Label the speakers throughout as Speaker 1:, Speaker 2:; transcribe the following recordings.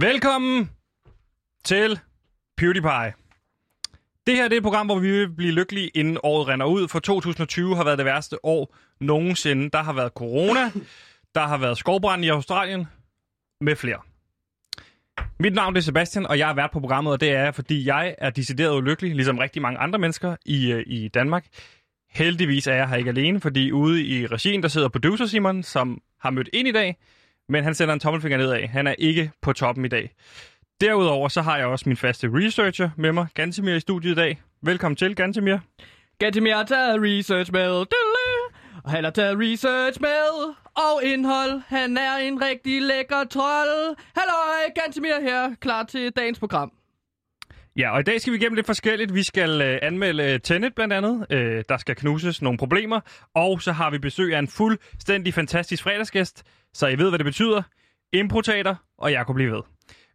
Speaker 1: Velkommen til PewDiePie. Det her det er et program, hvor vi vil blive lykkelige, inden året render ud. For 2020 har været det værste år nogensinde. Der har været corona, der har været skovbrand i Australien, med flere. Mit navn det er Sebastian, og jeg er vært på programmet, og det er jeg, fordi jeg er decideret ulykkelig, ligesom rigtig mange andre mennesker i, øh, i Danmark. Heldigvis er jeg her ikke alene, fordi ude i regien, der sidder producer Simon, som har mødt ind i dag, men han sender en tommelfinger nedad. Han er ikke på toppen i dag. Derudover så har jeg også min faste researcher med mig, Gantemir, i studiet i dag. Velkommen til, Gantemir.
Speaker 2: Gantemir har taget research med. Diddle. Og han har taget research med. Og indhold. Han er en rigtig lækker trold. Halløj, Gantemir her. Klar til dagens program.
Speaker 1: Ja, og i dag skal vi igennem lidt forskelligt. Vi skal øh, anmelde øh, Tenet blandt andet. Øh, der skal knuses nogle problemer. Og så har vi besøg af en fuldstændig fantastisk fredagsgæst. Så I ved, hvad det betyder. Improtater, og jeg kunne blive ved.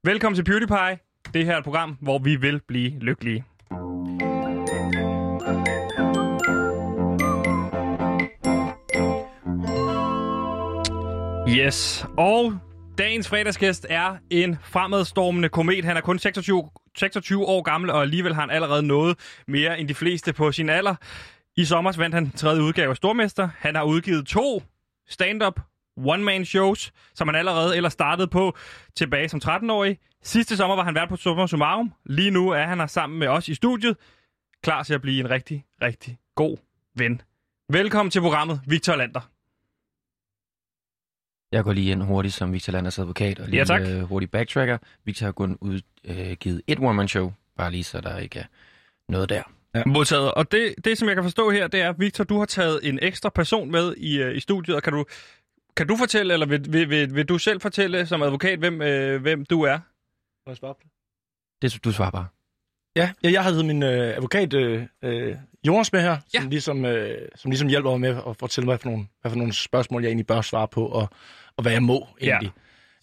Speaker 1: Velkommen til PewDiePie. Det her er et program, hvor vi vil blive lykkelige. Yes, og dagens fredagsgæst er en fremadstormende komet. Han er kun 26, 26 år gammel, og alligevel har han allerede nået mere end de fleste på sin alder. I sommer vandt han tredje udgave af Stormester. Han har udgivet to stand-up one-man-shows, som han allerede eller startede på tilbage som 13-årig. Sidste sommer var han vært på Summa Summarum. Lige nu er han her sammen med os i studiet, klar til at blive en rigtig, rigtig god ven. Velkommen til programmet, Victor Lander.
Speaker 3: Jeg går lige ind hurtigt som Victor Landers advokat, og lige
Speaker 1: Ja, tak.
Speaker 3: øh, hurtigt backtracker. Victor har kun udgivet et one-man-show, bare lige så der ikke er noget der.
Speaker 1: Modtaget. Og det, det, som jeg kan forstå her, det er, Victor, du har taget en ekstra person med i, øh, i studiet, og kan du, kan du fortælle, eller vil, vil, vil, vil du selv fortælle som advokat, hvem, øh, hvem du er?
Speaker 4: Må jeg svare på det?
Speaker 3: Det, du svarer bare.
Speaker 4: Ja, ja jeg har hedder min øh, advokat øh, øh, Jonas med her, ja. som, ligesom, øh, som ligesom hjælper mig med at fortælle mig, hvad for, nogle, hvad for nogle spørgsmål, jeg egentlig bør svare på, og, og hvad jeg må
Speaker 1: Ja.
Speaker 4: egentlig.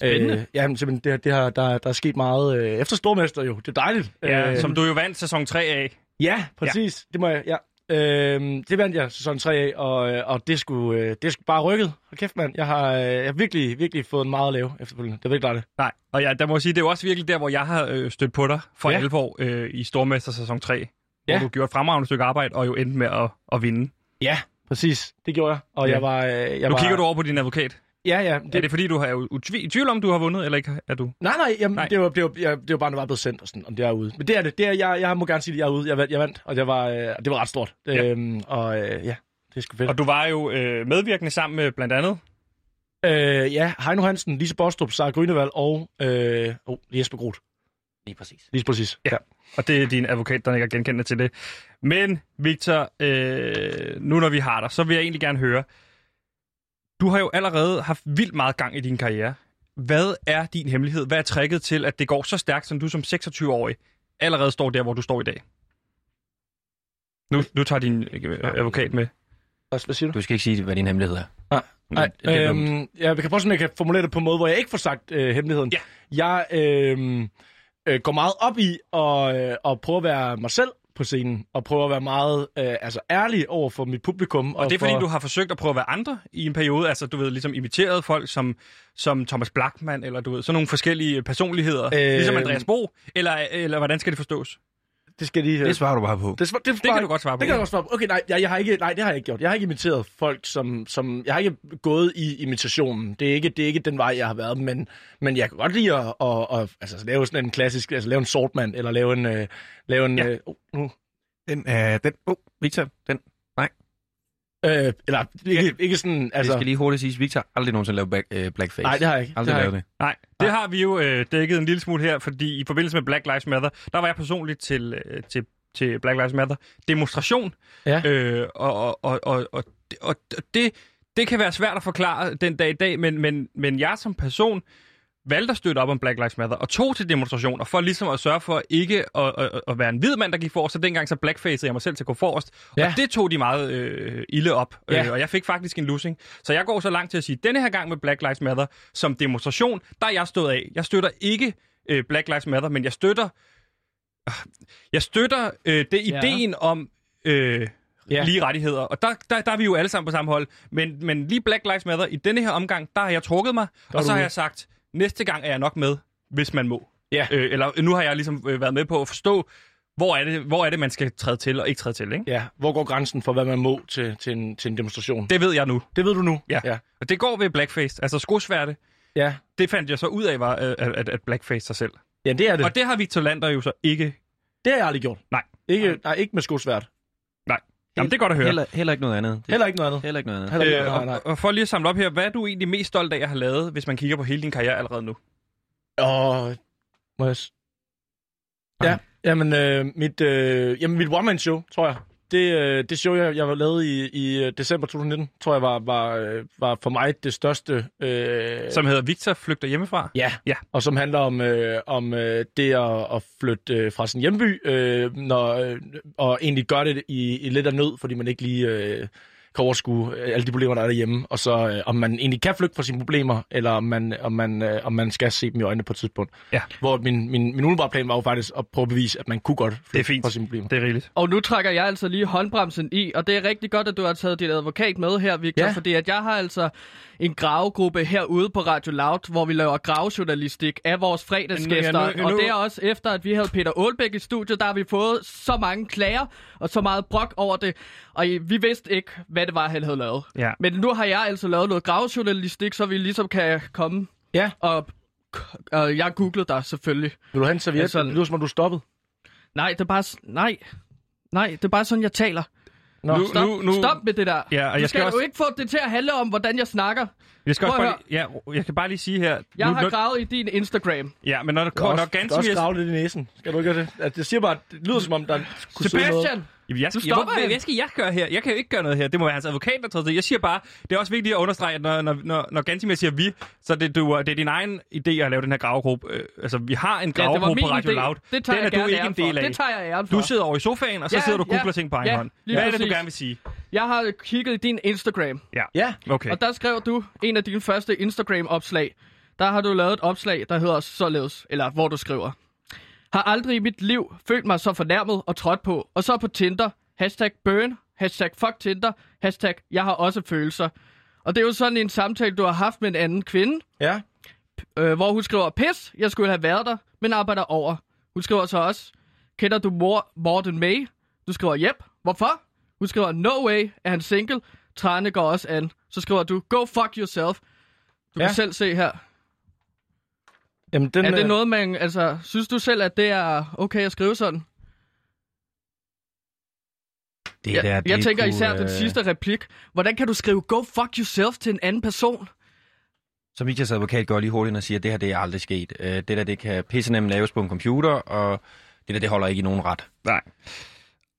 Speaker 1: Spændende.
Speaker 4: Øh, jamen, simpelthen, det, har- det har, der, der er sket meget øh, efter Stormester jo. Det er dejligt.
Speaker 1: Ja, øh, som du jo vandt sæson 3 af.
Speaker 4: ja præcis. Ja. Det må jeg, ja. Øh, det vandt jeg sæson 3 af, og, øh, og det skulle øh, det skulle bare rykket. Hold kæft, mand. Jeg har, øh, jeg har virkelig, virkelig fået meget at lave efterfølgende. Det er virkelig dejligt.
Speaker 1: Nej, og ja, der må jeg sige, det er jo også virkelig der, hvor jeg har øh, stødt på dig for ja.
Speaker 4: Ja.
Speaker 1: 11 år øh, i Stormester sæson 3. Ja.
Speaker 4: Ja.
Speaker 1: Hvor du gjorde et fremragende stykke arbejde, og jo endte med at, at vinde.
Speaker 4: Ja, præcis. Det gjorde jeg.
Speaker 1: Ja.
Speaker 4: Og ja. jeg var... Øh,
Speaker 1: nu
Speaker 4: jeg var,
Speaker 1: kigger du over på din advokat.
Speaker 4: Ja, ja.
Speaker 1: Det... Er det fordi, du har jo utvi- i tvivl om, du har vundet, eller ikke er du?
Speaker 4: Nej, nej, jamen,
Speaker 1: Nej.
Speaker 4: nej. Det, var, det, var, jeg, det var bare, når jeg var blevet sendt og sådan, om det er ude. Men det er det. det er, jeg, jeg må gerne sige, at jeg er ude. Jeg, vandt- jeg vandt, og det var, øh, det var ret stort.
Speaker 1: Ja.
Speaker 4: Øhm, og øh, ja, det er sgu fedt.
Speaker 1: Og du var jo øh, medvirkende sammen med blandt andet
Speaker 4: øh, ja, Heino Hansen, Lise Bostrup, Sara Grønevald og øh, oh, Jesper Groth.
Speaker 3: Lige præcis.
Speaker 4: Lige præcis.
Speaker 1: Ja. Og det er din advokat, der ikke er genkendende til det. Men Victor, øh, nu når vi har dig, så vil jeg egentlig gerne høre. Du har jo allerede haft vildt meget gang i din karriere. Hvad er din hemmelighed? Hvad er tricket til, at det går så stærkt, som du som 26-årig allerede står der, hvor du står i dag? Nu, nu tager din øh, advokat med.
Speaker 4: Hvad, hvad siger du?
Speaker 3: Du skal ikke sige, hvad din hemmelighed er.
Speaker 4: Nej.
Speaker 3: Men
Speaker 4: Nej,
Speaker 3: det er dumt.
Speaker 4: øhm, ja, vi kan prøve sådan, at jeg kan formulere det på en måde, hvor jeg ikke får sagt øh, hemmeligheden.
Speaker 1: Ja.
Speaker 4: Jeg øhm, øh, går meget op i at, øh, at prøve at være mig selv på scenen, og prøve at være meget øh, altså ærlig over for mit publikum.
Speaker 1: Og det er fordi,
Speaker 4: for...
Speaker 1: du har forsøgt at prøve at være andre i en periode. Altså, du ved, ligesom imiteret folk som, som Thomas Blackman, eller du ved, sådan nogle forskellige personligheder. Øh...
Speaker 4: Øh,
Speaker 1: Ligesom Andreas Bo. Eller, eller hvordan skal det forstås?
Speaker 4: Det skal jeg lige... øh,
Speaker 3: Det svarer du bare på.
Speaker 4: Det, svar, det,
Speaker 1: Det
Speaker 4: svarer-
Speaker 1: kan du godt svare på.
Speaker 4: Det kan jeg godt svare på. Okay, nej, jeg, jeg har ikke, nej, det har jeg ikke gjort. Jeg har ikke imiteret folk, som, som... Jeg har ikke gået i imitationen. Det er ikke, det er ikke den vej, jeg har været, men, men jeg kan godt lide at, at, at altså, lave sådan en klassisk... Altså lave en sortmand, eller lave en... Øh, lave en
Speaker 1: Ja.
Speaker 4: ja. øh, oh, nu.
Speaker 3: Den er... Den... Oh, Victor, den...
Speaker 4: Øh, eller ikke, ikke sådan...
Speaker 3: Altså...
Speaker 4: Altså,
Speaker 3: Det skal lige hurtigt siges, Victor har aldrig nogensinde lavet back, øh, blackface.
Speaker 4: nej, det har jeg ikke.
Speaker 3: Aldrig
Speaker 4: det har jeg
Speaker 3: lavet det.
Speaker 1: Nej, det har vi jo øh, dækket en lille smule her, fordi i forbindelse med Black Lives Matter, der var jeg personligt til, øh, til, til Black Lives Matter demonstration.
Speaker 4: Ja.
Speaker 1: Øh, og, og, og, og, og, og det, det kan være svært at forklare den dag i dag, men, men, men jeg som person valgte at støtte op om Black Lives Matter og tog til demonstrationer for ligesom at sørge for ikke at, at, at være en hvid mand, der gik forrest. Så dengang så blackfacede jeg mig selv til at gå forrest. Ja.
Speaker 4: Ja.
Speaker 1: Og det tog de meget øh, ilde op. Ja.
Speaker 4: Ja.
Speaker 1: Øh, og jeg fik faktisk en losing. Så jeg går så langt til at sige, at denne her gang med Black Lives Matter som demonstration, der er jeg stået af. Jeg støtter ikke øh, Black Lives Matter, men jeg støtter jeg støtter øh, det
Speaker 4: Ja.
Speaker 1: ideen om øh, ja.
Speaker 4: Ja.
Speaker 1: lige rettigheder, og der, der, der er vi jo alle sammen på samme hold. Men, men lige Black Lives Matter, i denne her omgang, der har jeg trukket mig, og
Speaker 4: er
Speaker 1: så
Speaker 4: du
Speaker 1: har
Speaker 4: ude.
Speaker 1: jeg sagt, næste gang er jeg nok med, hvis man må.
Speaker 4: Ja.
Speaker 1: Øh, eller nu har jeg ligesom øh, været med på at forstå, hvor er, det, hvor er det, man skal træde til og ikke træde til, ikke?
Speaker 4: Ja, hvor går grænsen for, hvad man må til, til, en, til en demonstration?
Speaker 1: Det ved jeg nu.
Speaker 4: Det ved du nu.
Speaker 1: Ja.
Speaker 4: Ja.
Speaker 1: Og det går ved blackface. Altså skosværte,
Speaker 4: ja.
Speaker 1: det fandt jeg så ud af, var øh, at, at blackface sig selv.
Speaker 4: ja det er det.
Speaker 1: Og det har Victor Lander jo så ikke.
Speaker 4: Det har jeg aldrig gjort.
Speaker 1: Nej.
Speaker 4: Ikke, nej, ikke med skosvært.
Speaker 1: Jamen, det er godt at høre.
Speaker 3: Heller, heller ikke noget andet. Det,
Speaker 4: Heller ikke noget andet.
Speaker 3: heller ikke noget andet.
Speaker 4: Heller ikke
Speaker 1: Øh,
Speaker 4: noget andet. Nej,
Speaker 1: og, og for lige at samle op her, hvad er du egentlig mest stolt af at have lavet, hvis man kigger på hele din karriere allerede nu?
Speaker 4: nej. Og... Må jeg... s- Ja, jamen, øh, mit, øh, jamen mit one-man-show, tror jeg. Det, øh, det show, jeg, jeg var lavet i, i øh, december 2019, tror jeg var, var, øh, var for mig det største. Øh,
Speaker 1: Som hedder Victor flygter hjemmefra.
Speaker 4: Ja,
Speaker 1: Ja.
Speaker 4: og som handler om, øh, om øh, det at, at flytte øh, fra sin hjemby, øh, når, øh, og egentlig gøre det i, i lidt af nød, fordi man ikke lige øh, kan overskue øh, alle de problemer, der er derhjemme, og så øh, om man egentlig kan flygte fra sine problemer, eller om man, om man, øh, om man skal se dem i øjnene på et tidspunkt.
Speaker 1: Ja.
Speaker 4: Hvor min, min, min umiddelbare plan var jo faktisk at prøve at bevise, at man kunne godt
Speaker 1: Det er
Speaker 4: flygte
Speaker 1: fint.
Speaker 4: fra sine problemer.
Speaker 1: Det er rigeligt.
Speaker 2: Og nu trækker jeg altså lige håndbremsen i, og det er rigtig godt, at du har taget dit advokat med her, Victor,
Speaker 4: Ja.
Speaker 2: ja. fordi at jeg har altså en gravegruppe herude på Radio Loud, hvor vi laver gravejournalistik af vores fredagsgæster,
Speaker 1: Ja, nu- nu-
Speaker 2: og det er også efter, at vi havde Peter Aalbæk i studiet, der har vi fået så mange klager og så meget brok over det, og I- vi vidste ikke, hvad det var, han havde lavet.
Speaker 1: Ja.
Speaker 2: Men nu har jeg altså lavet noget gravejournalistik, så vi ligesom kan komme
Speaker 4: Ja.
Speaker 2: og... Og jeg googlede dig selvfølgelig.
Speaker 4: Vil du have en serviet?
Speaker 2: Altså-
Speaker 4: det lyder som om, du er stoppet.
Speaker 2: Nej, det er bare... s- Nej. Nej, det er bare sådan, jeg taler.
Speaker 4: Nå,
Speaker 1: nu,
Speaker 2: Stop,
Speaker 1: nu, nu,
Speaker 2: stop med det der.
Speaker 1: Ja, og
Speaker 2: du
Speaker 1: jeg skal
Speaker 2: skal
Speaker 1: også-
Speaker 2: jo ikke få det til at handle om, hvordan jeg snakker.
Speaker 1: Jeg, skal også
Speaker 2: Prøv
Speaker 1: bare
Speaker 2: at
Speaker 1: lige, ja, jeg kan bare lige sige her.
Speaker 2: Jeg
Speaker 1: nu,
Speaker 2: har
Speaker 1: nu,
Speaker 2: gravet i din Instagram.
Speaker 1: ja, men når, der,
Speaker 4: Du kan
Speaker 1: når
Speaker 4: også, du kan også
Speaker 1: Gantemir
Speaker 4: grave lidt i næsen. Skal du ikke gøre det? Altså, jeg siger bare, at det lyder som om, der kunne sidde noget.
Speaker 2: Sebastian!
Speaker 1: Jamen, jeg,
Speaker 2: Nu
Speaker 1: skal, jeg,
Speaker 2: stopper
Speaker 1: hvorfor,
Speaker 2: han.
Speaker 1: hvad skal jeg gøre her? Jeg kan jo ikke gøre noget her. Det må være hans advokat, der tager til. Jeg siger bare, det er også vigtigt at understrege, at når, når, når, når Gantimir siger vi, så er det, du, det er din egen idé at lave den her gravegruppe. Øh, altså, vi har en
Speaker 2: Ja, det var
Speaker 1: gravegruppe
Speaker 2: min
Speaker 1: på Radio
Speaker 2: idé.
Speaker 1: Loud.
Speaker 2: Det tager
Speaker 1: den
Speaker 2: jeg
Speaker 1: er du
Speaker 2: gerne
Speaker 1: ikke en
Speaker 2: æren for.
Speaker 1: del af.
Speaker 2: Det tager jeg æren for.
Speaker 1: Du sidder over i sofaen, og så
Speaker 2: Ja,
Speaker 1: sidder du og
Speaker 2: ja.
Speaker 1: googler ting på egen
Speaker 2: Ja,
Speaker 1: hånd.
Speaker 2: lige
Speaker 1: Hvad er det, du
Speaker 2: præcis.
Speaker 1: gerne vil sige?
Speaker 2: Jeg har kigget i din Instagram,
Speaker 4: Ja,
Speaker 1: Okay.
Speaker 2: og der skrev du en af dine første Instagram-opslag. Der har du lavet et opslag, der hedder således, eller hvor du skriver. Har aldrig i mit liv følt mig så fornærmet og trådt på, og så på Tinder. Hashtag burn, hashtag fuck Tinder, hashtag jeg har også følelser. Og det er jo sådan en samtale, du har haft med en anden kvinde,
Speaker 4: ja.
Speaker 2: øh, hvor hun skriver, pis, jeg skulle have været der, men arbejder over. Hun skriver så også, kender du mor Morten May? Du skriver, yep, hvorfor? Hun skriver, no way, er han single? Trane går også an. Så skriver du, go fuck yourself. Du ja.
Speaker 4: Ja.
Speaker 2: kan selv se her.
Speaker 4: Jamen, den,
Speaker 2: er det
Speaker 4: øh,
Speaker 2: noget, man... Altså, synes du selv, at det er okay at skrive sådan?
Speaker 3: Det
Speaker 2: Jeg,
Speaker 3: der,
Speaker 2: jeg
Speaker 3: det
Speaker 2: tænker
Speaker 3: kunne,
Speaker 2: især den
Speaker 3: øh,
Speaker 2: sidste replik. Hvordan kan du skrive, go fuck yourself til en anden person?
Speaker 3: Så Victor's advokat går lige hurtigt ind og siger, at det her det er aldrig sket. Øh, Det der det kan pisse nemt laves på en computer, og det der det holder ikke i nogen ret.
Speaker 1: Nej.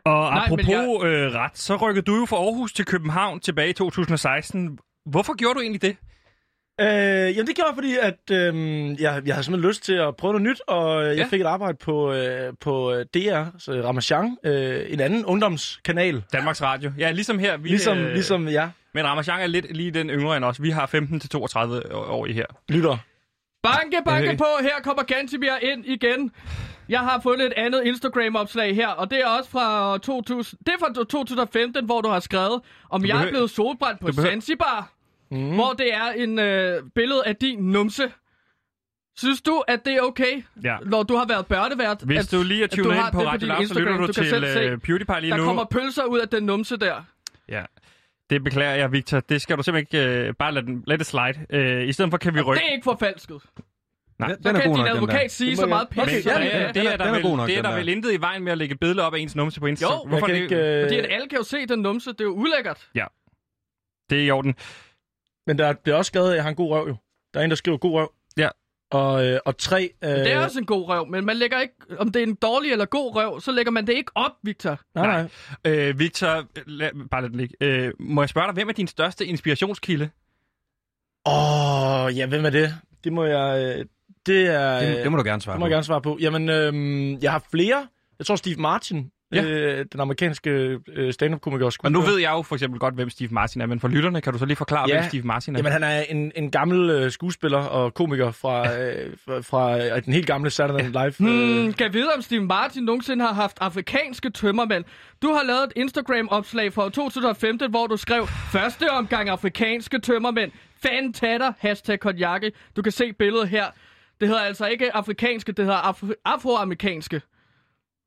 Speaker 1: Og Nej,
Speaker 2: Nej, men
Speaker 1: apropos jeg... øh, ret, så rykkede du jo fra Aarhus til København tilbage i 2016. Hvorfor gjorde du egentlig det?
Speaker 4: Øh, jamen det gjorde jeg, fordi at, øh, jeg, jeg havde simpelthen lyst til at prøve noget nyt, og øh, jeg
Speaker 1: Ja.
Speaker 4: fik et arbejde på, øh, på øh, DR, så Ramachan, øh, en anden ungdomskanal.
Speaker 1: Danmarks Radio. Ja, ligesom her. Vi,
Speaker 4: Ligesom, øh... ligesom jeg
Speaker 1: Men Ramachan er lidt lige den yngre end os. Vi har 15-32 år i her.
Speaker 4: lytter.
Speaker 2: Banke, banke
Speaker 1: Øh.
Speaker 2: på. Her kommer Gantimir ind igen. Jeg har fundet et andet Instagram-opslag her, og det er også fra, 2000, det er fra 2015, hvor du har skrevet, om jeg
Speaker 1: behøver-
Speaker 2: er blevet solbrændt på
Speaker 1: du behøver-
Speaker 2: Zanzibar, mm. hvor det er en øh, billede af din numse. Synes du, at det er okay,
Speaker 1: Ja.
Speaker 2: når du har været børnevært?
Speaker 1: Hvis
Speaker 2: at,
Speaker 1: du lige er
Speaker 2: at du
Speaker 1: tunet
Speaker 2: har
Speaker 1: ind på
Speaker 2: det
Speaker 1: Radio
Speaker 2: din
Speaker 1: Loud, så lytter
Speaker 2: Instagram?
Speaker 1: du,
Speaker 2: du kan
Speaker 1: til
Speaker 2: selv se,
Speaker 1: øh, PewDiePie lige
Speaker 2: der
Speaker 1: nu.
Speaker 2: kommer pølser ud af den numse der.
Speaker 1: Ja. Det beklager jeg, Victor. Det skal du simpelthen ikke... Øh, bare lad, den, lad det slide. Øh, I stedet for kan vi rykke...
Speaker 2: Det er ikke forfalsket.
Speaker 1: Nej.
Speaker 3: Den,
Speaker 2: Så
Speaker 3: den er
Speaker 2: kan
Speaker 3: god
Speaker 2: din
Speaker 3: nok, den der.
Speaker 2: advokat sige
Speaker 4: Det må
Speaker 2: så
Speaker 4: jeg-
Speaker 2: meget pis.
Speaker 4: Okay,
Speaker 2: som
Speaker 4: ja,
Speaker 2: han
Speaker 1: det,
Speaker 4: ja,
Speaker 2: vil.
Speaker 1: er, det er, der,
Speaker 3: den er
Speaker 1: vel,
Speaker 3: god nok,
Speaker 1: det er
Speaker 3: den
Speaker 1: der
Speaker 3: der.
Speaker 1: vel intet i vejen med at lægge billeder op af ens numse på Instagram.
Speaker 2: Jo, jeg
Speaker 1: Hvorfor
Speaker 4: jeg kan
Speaker 1: det,
Speaker 4: ikke, øh,
Speaker 2: Fordi at alle kan jo se den numse. Det er jo ulækkert.
Speaker 1: det er i orden.
Speaker 4: Men der bliver også skrevet, at jeg har en god røv jo. Der er en, der skriver god røv.
Speaker 1: Ja.
Speaker 4: Og, øh, og tre... Øh,
Speaker 2: Det er også en god røv, men man lægger ikke, om det er en dårlig eller god røv, så lægger man det ikke op, Victor.
Speaker 4: Nej, nej.
Speaker 1: Øh, Victor, lad, bare lad den ligge. Øh, må jeg spørge dig, hvem er din største inspirationskilde?
Speaker 4: Åh, oh, ja, hvem er det? Det må jeg... Øh, det er...
Speaker 3: Det, det må du gerne svare
Speaker 4: Det må
Speaker 3: på.
Speaker 4: jeg gerne svare på. Jamen, øhm, jeg har flere. Jeg tror, Steve Martin,
Speaker 1: Ja.
Speaker 4: ja. øh, den amerikanske øh, stand-up-komiker,
Speaker 1: Og nu ved jeg jo for eksempel godt, hvem Steve Martin er, men for lytterne kan du så lige forklare, ja.
Speaker 4: Ja.
Speaker 1: hvem Steve Martin er?
Speaker 4: Jamen, han er en, en gammel øh, skuespiller og komiker fra, øh, fra, fra øh, den helt gamle Saturday Night Live. Øh,
Speaker 2: Hmm, kan vide, om Steve Martin nogensinde har haft afrikanske tømmermænd. Du har lavet et Instagram-opslag fra 2015, hvor du skrev, første omgang afrikanske tømmermænd. Fan tatter, hashtag konjakke. Du kan se billedet her. Det hedder altså ikke afrikanske, det hedder af- afroamerikanske.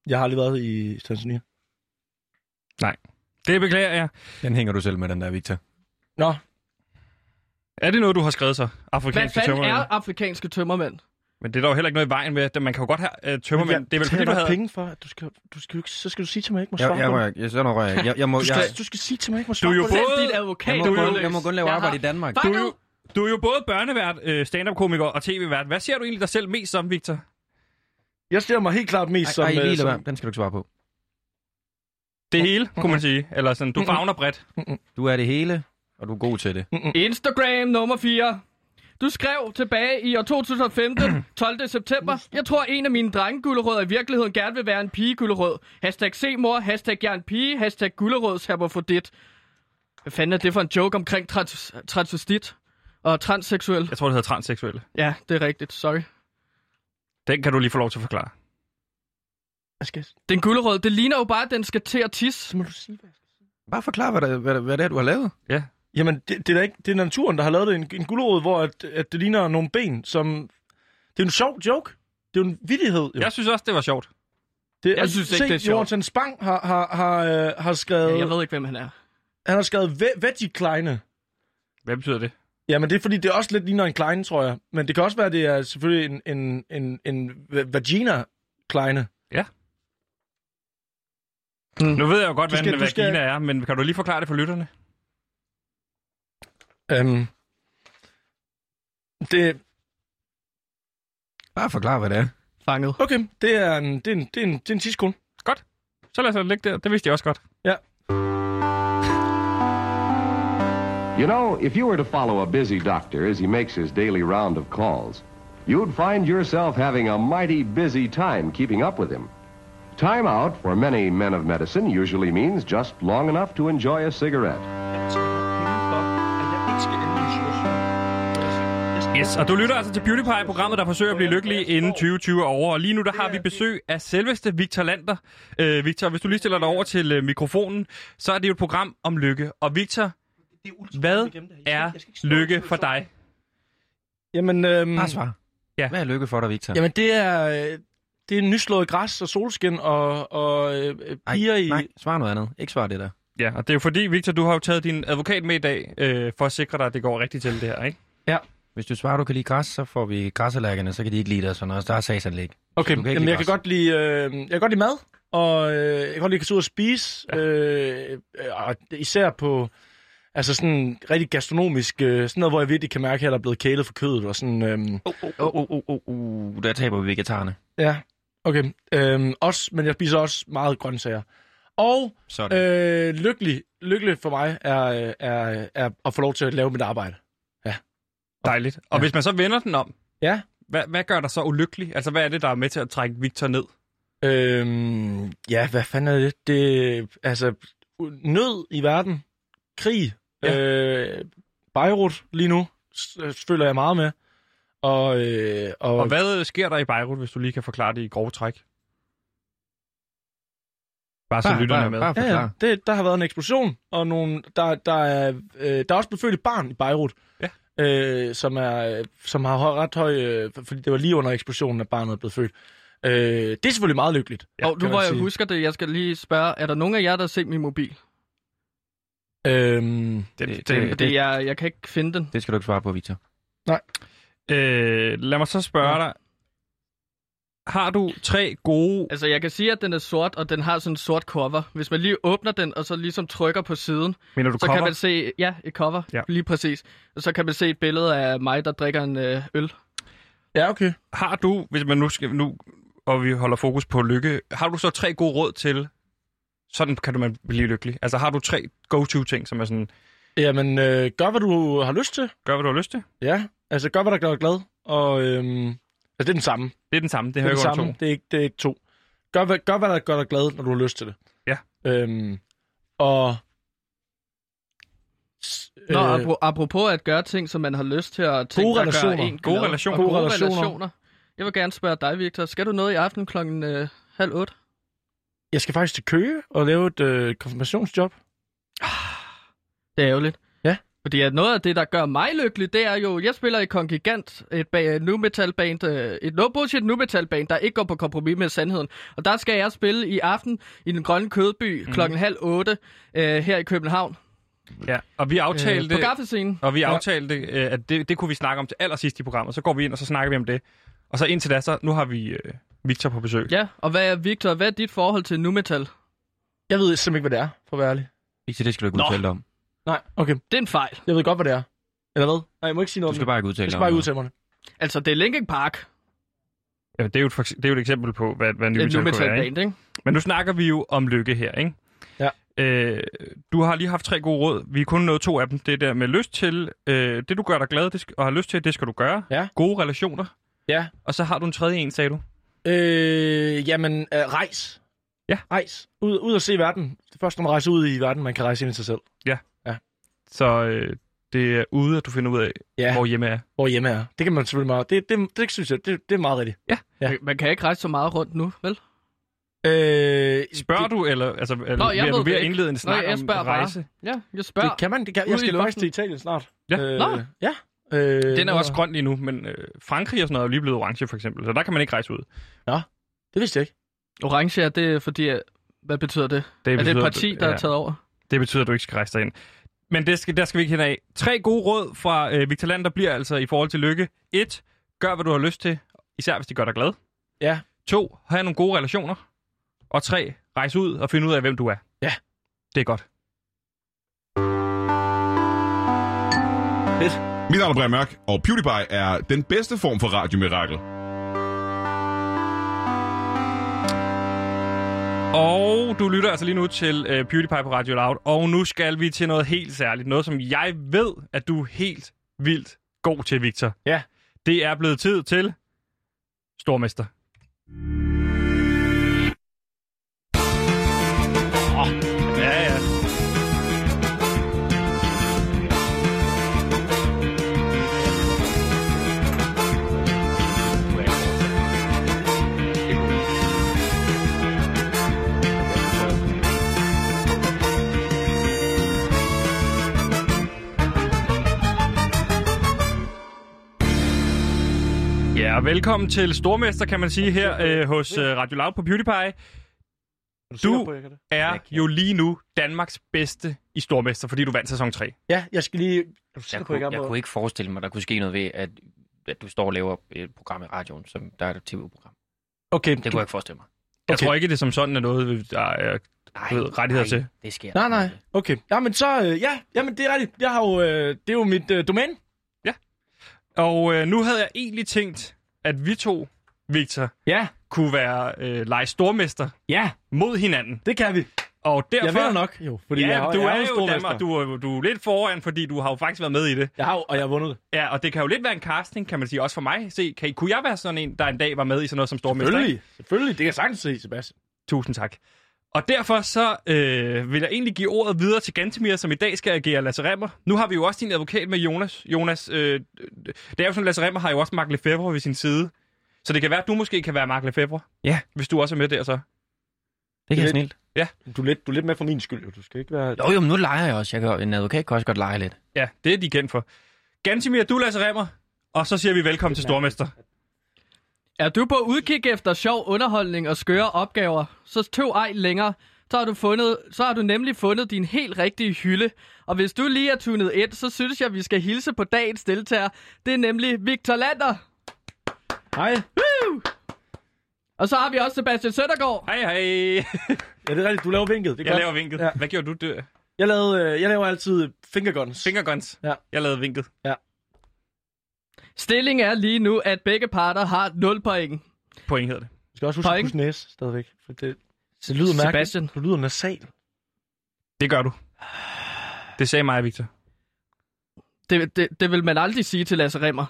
Speaker 4: Jeg har aldrig været i Tanzania.
Speaker 1: Det beklager jeg.
Speaker 3: Den hænger du selv med, den der, Victor.
Speaker 4: Nå,
Speaker 1: Er det noget, du har skrevet så?
Speaker 2: Hvad
Speaker 1: Afrikanske
Speaker 2: fanden
Speaker 1: tømmermænd.
Speaker 2: er afrikanske tømmermænd?
Speaker 1: Men det er der jo heller ikke noget i vejen med. Man kan jo godt have uh, tømmermænd. det er vel fordi, du havde...
Speaker 4: penge for, at du skal, du skal, jo ikke- så skal du sige til mig, at jeg ikke må svare
Speaker 3: Jeg, jeg,
Speaker 4: på det.
Speaker 3: rører ikke. jeg, sådan noget rører jeg, ikke. jeg, jeg, må,
Speaker 4: Du
Speaker 3: jeg,
Speaker 4: skal, du skal sige til mig, at jeg ikke må
Speaker 1: Du
Speaker 4: svare
Speaker 1: er jo
Speaker 4: på det.
Speaker 1: både-
Speaker 2: Selv dit advokat
Speaker 3: jeg,
Speaker 2: er
Speaker 3: må, kun,
Speaker 2: udløst.
Speaker 3: jeg må kun lave
Speaker 2: Jeg
Speaker 3: arbejde i
Speaker 2: har-
Speaker 3: Danmark.
Speaker 1: Du
Speaker 2: Fuck
Speaker 1: er,
Speaker 2: nu!
Speaker 1: jo, du er jo både børnevært, øh, stand-up-komiker og tv-vært. Hvad ser du egentlig dig selv mest som, Victor?
Speaker 4: Jeg stiller mig helt klart mest
Speaker 3: Ej,
Speaker 4: som...
Speaker 3: ej,
Speaker 4: øh,
Speaker 3: lige lad
Speaker 4: som-
Speaker 3: være. Den skal du ikke svare på.
Speaker 1: Det hele, kunne man sige. Eller sådan,
Speaker 2: Mhm.
Speaker 1: du fagner bredt.
Speaker 3: Du er det hele, og du er god til det.
Speaker 2: Instagram nummer 4. Du skrev tilbage i år 2015, 12. september, jeg tror en af mine drengegullerødder i virkeligheden gerne vil være en pigegullerød. Hashtag se mor, hashtag jeg er en pige, hashtag gullerøds hermofrodit. Hvad fanden er det for en joke omkring trans transvestit og transseksuel?
Speaker 1: Jeg tror, det hedder transseksuelle.
Speaker 2: Ja, det er rigtigt, sorry.
Speaker 1: Den kan du lige få lov til at forklare.
Speaker 4: Jeg skal,
Speaker 2: Den gullerød, det ligner jo bare, at den skal til at tisse.
Speaker 4: så må du sige, hvad jeg skal.
Speaker 3: Bare forklar, hvad, der, hvad, der- hvad det er, du har lavet.
Speaker 4: Jamen, det, det, er da ikke, det er naturen, der har lavet det. En, en gulerod, hvor at, at det ligner nogle ben, som... Det er en sjov joke. Det er jo en vittighed, jo.
Speaker 1: Jeg synes også, det var sjovt.
Speaker 4: det,
Speaker 2: jeg synes ikke,
Speaker 4: se,
Speaker 2: det er sjovt.
Speaker 4: Jonathan Spang har, har, har, øh, har skrevet...
Speaker 2: Ja, jeg ved ikke, hvem han er.
Speaker 4: Han har skrevet ve- veggie kleine.
Speaker 1: Hvad betyder det?
Speaker 4: Jamen, det er fordi, det også lidt ligner en kleine, tror jeg. Men det kan også være, det er selvfølgelig en, en, en, en va- vagina kleine.
Speaker 1: Nu ved jeg jo godt,
Speaker 4: Du
Speaker 1: hvad
Speaker 4: skal-
Speaker 1: en
Speaker 4: du skal-
Speaker 1: vagina er, men kan du lige forklare det for lytterne?
Speaker 4: Øhm, det,
Speaker 3: Bare forklar, hvad det er.
Speaker 2: Fanget.
Speaker 4: okay, det er en, det er en, det er en, det er en tidskone.
Speaker 1: Så lad os lade det ligge der. Det vidste jeg også godt.
Speaker 5: You know, if you were to follow a busy doctor as he makes his daily round of calls, you'd find yourself having a mighty busy time keeping up with him. Time out for many men of medicine usually means just long enough to enjoy a cigarette.
Speaker 1: Yes, og du lytter altså til Beauty Pie, programmet, der forsøger at blive lykkelig inden 2020 er over. Og lige nu, der har vi besøg af selveste Victor Lander. Øh, Victor, hvis du lige stiller dig over til øh, mikrofonen, så er det jo et program om lykke. Og Victor, hvad er lykke for dig?
Speaker 4: Jamen, øhm,
Speaker 3: Bare svar.
Speaker 1: Ja.
Speaker 3: Hvad er lykke for dig, Victor?
Speaker 4: jamen det er... øh, Det er nyslået græs og solskin og, og øh, øh, piger i...
Speaker 3: Nej, svar noget andet. Ikke svar det der.
Speaker 1: Ja, og det er jo fordi, Victor, du har jo taget din advokat med i dag, øh, for at sikre dig, at det går rigtigt til det her, ikke?
Speaker 3: Hvis du svarer, du kan lide græs, så får vi græsallergerne, så kan de ikke lide det og sådan noget. Så Der er sagsanlæg.
Speaker 4: Okay,
Speaker 3: du kan ikke
Speaker 4: jamen,
Speaker 3: lide
Speaker 4: jeg kan
Speaker 3: græs.
Speaker 4: godt lide, øh, jeg kan godt lide mad, og øh, jeg kan godt lide at tage ud og spise, ja. øh, og især på altså sådan rigtig gastronomisk, øh, sådan noget, hvor jeg virkelig kan mærke, at jeg er blevet kælet for kødet, og sådan, øh,
Speaker 3: Åh, oh, oh, oh, oh, der taber vi vegetarerne.
Speaker 4: ja, okay, øh, også, men jeg spiser også meget grøntsager. Og
Speaker 3: Sådan.
Speaker 4: øh, lykkelig, lykkelig for mig er, øh, er, er at få lov til at lave mit arbejde.
Speaker 1: Dejligt. Og ja. hvis man så vender den om,
Speaker 4: Ja.
Speaker 1: hvad, hvad gør dig så ulykkelig? Altså, hvad er det, der er med til at trække Victor ned?
Speaker 4: Øhm, ja, hvad fanden er det? Det altså u- nød i verden, krig,
Speaker 1: Ja.
Speaker 4: ja. øh, Beirut lige nu s- øh, føler jeg meget med. Og, øh, og,
Speaker 1: Og hvad sker der i Beirut, hvis du lige kan forklare det i grove træk? Bare så
Speaker 3: Bare-
Speaker 1: lytterne er
Speaker 3: bare-
Speaker 1: med.
Speaker 3: bare
Speaker 4: ja, ja,
Speaker 3: forklar.
Speaker 4: det, der har været en eksplosion og nogle, der der er øh, der er også blevet født et barn i Beirut.
Speaker 1: Ja.
Speaker 4: Øh, som er som har høj- ret høj øh, for- fordi det var lige under eksplosionen at barnet er blevet født. Øh, det er selvfølgelig meget lykkeligt.
Speaker 1: Ja,
Speaker 2: Ja, og nu
Speaker 4: kan
Speaker 2: hvor
Speaker 4: man
Speaker 2: jeg
Speaker 4: sige.
Speaker 2: husker det, jeg skal lige spørge, er der nogen af jer, der har set min mobil?
Speaker 4: Øhm,
Speaker 1: Den,
Speaker 3: Det-
Speaker 1: den,
Speaker 3: det-
Speaker 2: Fordi jeg, jeg kan ikke finde den.
Speaker 3: Det skal du ikke svare på, Victor.
Speaker 1: Øh, lad mig så spørge dig. Har du tre gode...
Speaker 2: Altså, jeg kan sige, at den er sort, og den har sådan en sort cover. Hvis man lige åbner den, og så ligesom trykker på siden,
Speaker 1: Mener du
Speaker 2: så
Speaker 1: cover?
Speaker 2: kan man se... Ja, et cover.
Speaker 1: Ja.
Speaker 2: Ja. Lige præcis. Og så kan man se et billede af mig, der drikker en øh, øl.
Speaker 4: ja, okay.
Speaker 1: Har du, hvis man nu skal... Nu, og vi holder fokus på lykke. Har du så tre gode råd til... Sådan kan du man blive lykkelig. Altså har du tre go-to-ting, som er sådan...
Speaker 4: Jamen, øh, gør hvad du har lyst til.
Speaker 1: Gør, hvad du har lyst til.
Speaker 4: Ja, altså gør, hvad der gør dig glad. Og, øhm, altså, det er den samme.
Speaker 1: Det er den samme. Det
Speaker 4: Det er
Speaker 1: hører
Speaker 4: den
Speaker 1: jeg
Speaker 4: samme.
Speaker 1: under to.
Speaker 4: Det er ikke, det er ikke to. Gør, hvad, gør, hvad der gør dig glad, når du har lyst til det.
Speaker 1: Ja.
Speaker 4: Øhm, og... s- øh,
Speaker 2: Nå, apro- apropos at gøre ting, som man har lyst til at tænke,
Speaker 4: Gode
Speaker 2: der
Speaker 4: relationer.
Speaker 2: Gør en
Speaker 1: Øh. Gode
Speaker 2: glad.
Speaker 1: relationer.
Speaker 2: Og
Speaker 4: Gode
Speaker 2: Gode
Speaker 4: relationer.
Speaker 2: relationer. Jeg vil gerne spørge dig, Victor. Skal du noget i aften klokken øh, halv otte?
Speaker 4: jeg skal faktisk til Køge og lave et øh, konfirmationsjob.
Speaker 2: Det er ærgerligt.
Speaker 4: Ja.
Speaker 2: Fordi at noget af det, der gør mig lykkelig, det er jo, jeg spiller i Kongigant, et ba- nu metal band, øh, et no bullshit nu metal band, der ikke går på kompromis med sandheden. Og der skal jeg spille i aften i den grønne kødby mm. klokken halv otte øh, her i København.
Speaker 1: Ja. Og vi aftalte...
Speaker 2: Øh, på gaffescenen.
Speaker 1: Og vi aftalte, øh, at det, det kunne vi snakke om til allersidst i programmet. Så går vi ind, og så snakker vi om det. Og så indtil da, så nu har vi øh, Victor på besøg.
Speaker 2: Ja, og hvad er, Victor, hvad er dit forhold til nu metal?
Speaker 4: Jeg ved simpelthen ikke, hvad det er, for at være ærlig.
Speaker 3: Ikke det skal du ikke udtale dig om.
Speaker 4: Nej, okay.
Speaker 2: Det er en fejl.
Speaker 4: Jeg ved godt, hvad det er. Eller hvad? Nej, jeg må ikke sige
Speaker 3: Du
Speaker 4: noget
Speaker 3: skal
Speaker 4: om det.
Speaker 3: bare ikke udtale
Speaker 4: Jeg
Speaker 3: dig
Speaker 4: skal
Speaker 3: om
Speaker 4: bare
Speaker 3: noget.
Speaker 4: udtale mig. det.
Speaker 2: Altså, det er Linkin Park,
Speaker 1: Ja, det, er jo et, for- det er jo et eksempel på, hvad, hvad
Speaker 2: et nu
Speaker 1: nymetal kunne
Speaker 2: metal
Speaker 1: være. Ikke?
Speaker 2: band, ikke?
Speaker 1: Men nu snakker vi jo om lykke her, ikke?
Speaker 4: Ja.
Speaker 1: Øh, du har lige haft tre gode råd. Vi er kun nået to af dem. Det der med lyst til, øh, det du gør dig glad det skal, og har lyst til, det skal du gøre.
Speaker 4: Ja.
Speaker 1: Gode relationer.
Speaker 4: Ja.
Speaker 1: Og så har du en tredje en, sagde du.
Speaker 4: Øh, jamen, øh, rejs.
Speaker 1: Ja.
Speaker 4: Rejs. Ud, ud og se verden. Det er først, når man rejser ud i verden, man kan rejse ind i sig selv.
Speaker 1: Så øh, det er ude, at du finder ud af,
Speaker 4: Ja,
Speaker 1: hvor
Speaker 4: hvor,
Speaker 1: hjemme er.
Speaker 4: hvor hjemme er. Det kan man selvfølgelig meget. Det, det, det synes jeg, det, det er meget rigtigt.
Speaker 2: Ja. Man kan ikke rejse så meget rundt nu, vel?
Speaker 4: Øh,
Speaker 1: Spørger du, eller altså, er, Nå,
Speaker 2: jeg
Speaker 1: er du ved
Speaker 2: ved det
Speaker 1: at
Speaker 2: ikke.
Speaker 1: indlede en
Speaker 2: Nå,
Speaker 1: snak
Speaker 2: jeg
Speaker 1: om
Speaker 2: spørger bare.
Speaker 1: rejse?
Speaker 2: Ja, jeg spørger.
Speaker 4: det, det kan man. Det kan,
Speaker 2: Ude
Speaker 4: jeg
Speaker 2: i
Speaker 4: skal
Speaker 2: luften.
Speaker 4: faktisk til Italien snart.
Speaker 1: Ja.
Speaker 4: Øh,
Speaker 2: Nå.
Speaker 4: ja. Øh,
Speaker 1: Den er
Speaker 4: nå.
Speaker 1: også grøn lige nu, men øh, Frankrig og sådan noget er jo lige blevet orange, for eksempel. Så der kan man ikke rejse ud.
Speaker 4: Det vidste jeg ikke.
Speaker 2: Orange er det, fordi... at- Hvad betyder det?
Speaker 1: Det
Speaker 2: Er det et parti, der er taget over?
Speaker 1: Det betyder, at du ikke skal rejse dig ind. Men det skal, der skal vi ikke hen af. Tre gode råd fra øh, Victor Lander bliver altså i forhold til lykke. 1. Gør, hvad du har lyst til, især hvis det gør dig glad.
Speaker 4: Ja.
Speaker 1: 2. Have nogle gode relationer. Og 3. Rejs ud og finde ud af, hvem du er.
Speaker 4: Ja.
Speaker 1: Det er godt.
Speaker 6: Mit navn er Brian Mørk, og PewDiePie er den bedste form for radiomirakel.
Speaker 1: Og du lytter altså lige nu til øh, PewDiePie på Radio Loud. Og nu skal vi til noget helt særligt. Noget, som jeg ved, at du er helt vildt god til, Victor.
Speaker 4: Ja.
Speaker 1: Det er blevet tid til Stormester. Oh, ja, ja. Ja, og velkommen til Stormester, kan man sige, her øh, hos øh, Radio Loud på PewDiePie.
Speaker 4: Er du,
Speaker 1: Du-
Speaker 4: sikker på, jeg kan det?
Speaker 1: Er jo lige nu Danmarks bedste i Stormester, fordi du vandt sæson 3.
Speaker 4: Ja, jeg skal lige... Er du sikker
Speaker 3: Jeg
Speaker 4: på, jeg
Speaker 3: kunne,
Speaker 4: gerne
Speaker 3: jeg
Speaker 4: må-
Speaker 3: kunne ikke forestille mig, der kunne ske noget ved, at, at du står og laver et program i radioen, som der er et tv-program.
Speaker 4: Okay,
Speaker 3: Det kunne jeg ikke forestille mig.
Speaker 1: Jeg
Speaker 4: Okay.
Speaker 1: tror ikke, det er som sådan er noget, der er
Speaker 3: Nej,
Speaker 1: Du ved, rettigheder
Speaker 3: nej,
Speaker 1: til.
Speaker 3: det sker
Speaker 4: Nej,
Speaker 3: der
Speaker 4: nej.
Speaker 3: ikke.
Speaker 4: Okay. Jamen så, øh, ja, jamen det er rigtigt. Jeg har jo, øh, det er jo mit øh, domæne.
Speaker 1: Og øh, nu havde jeg egentlig tænkt, at vi to, Victor,
Speaker 4: Ja.
Speaker 1: kunne være øh, lege stormester
Speaker 4: Ja,
Speaker 1: mod hinanden.
Speaker 4: det kan vi.
Speaker 1: Og derfor...
Speaker 4: Jeg vinder nok, jo. Fordi
Speaker 1: Ja,
Speaker 4: jeg, har-
Speaker 1: du
Speaker 4: jeg
Speaker 1: er jo
Speaker 4: stormester.
Speaker 1: Danmark, du, er jo- du er lidt foran, fordi du har jo faktisk været med i det.
Speaker 4: Jeg har jo- og jeg har vundet det.
Speaker 1: Ja, og det kan jo lidt være en casting, kan man sige, også for mig. Se, kan, I- kunne jeg være sådan en, der en dag var med i sådan noget som stormester? ikke?
Speaker 4: Selvfølgelig. Selvfølgelig. Det kan jeg sagtens se, Sebastian.
Speaker 1: Tusind tak. Og derfor så øh, vil jeg egentlig give ordet videre til Gantemir, som i dag skal agere Lasse Remmer. Nu har vi jo også din advokat med Jonas. Jonas, øh, det er jo sådan, Lasse Remmer har jo også Mark Lefebvre ved sin side. Så det kan være, at du måske kan være Mark Lefebvre.
Speaker 3: Ja.
Speaker 1: Hvis du også er med der så.
Speaker 3: Det kan
Speaker 4: Det
Speaker 3: jeg
Speaker 4: er
Speaker 3: snilt.
Speaker 4: Du er lidt, du er lidt med for min skyld, jo. Du skal ikke være...
Speaker 3: Jo, jo, men nu leger jeg også. Jeg kan, en advokat kan også godt lege lidt.
Speaker 1: Ja, det er de kendt for. Gantemir, du er Lasse Remmer. Og så siger vi velkommen til Stormester.
Speaker 2: Er du på udkig efter sjov underholdning og skøre opgaver, så tøv ej længere. Så har, du fundet, så har du nemlig fundet din helt rigtige hylde. Og hvis du lige er tunet ind, så synes jeg, vi skal hilse på dagens deltager. Det er nemlig Victor Lander.
Speaker 4: Hej.
Speaker 2: Og så har vi også Sebastian Søndergaard.
Speaker 1: Hej, hej.
Speaker 4: Ja, det er rigtigt. Du laver vinket. Det er
Speaker 1: Jeg
Speaker 4: godt.
Speaker 1: laver vinket.
Speaker 4: Ja.
Speaker 1: Hvad gjorde du? Det?
Speaker 4: Jeg, lavede, øh, jeg laver altid fingerguns.
Speaker 1: Fingerguns.
Speaker 4: Ja.
Speaker 1: Jeg lavede vinket.
Speaker 2: Stillingen er lige nu, at begge parter har 0 point.
Speaker 1: Point hedder det.
Speaker 4: Du skal også huske at
Speaker 2: Point.
Speaker 4: pusse næse stadigvæk. For det, det lyder mærkeligt.
Speaker 2: Sebastian.
Speaker 4: Du lyder nasal.
Speaker 1: Det gør du. Det sagde mig, Victor.
Speaker 2: Det, det, det vil man aldrig sige til Lasse Remmer.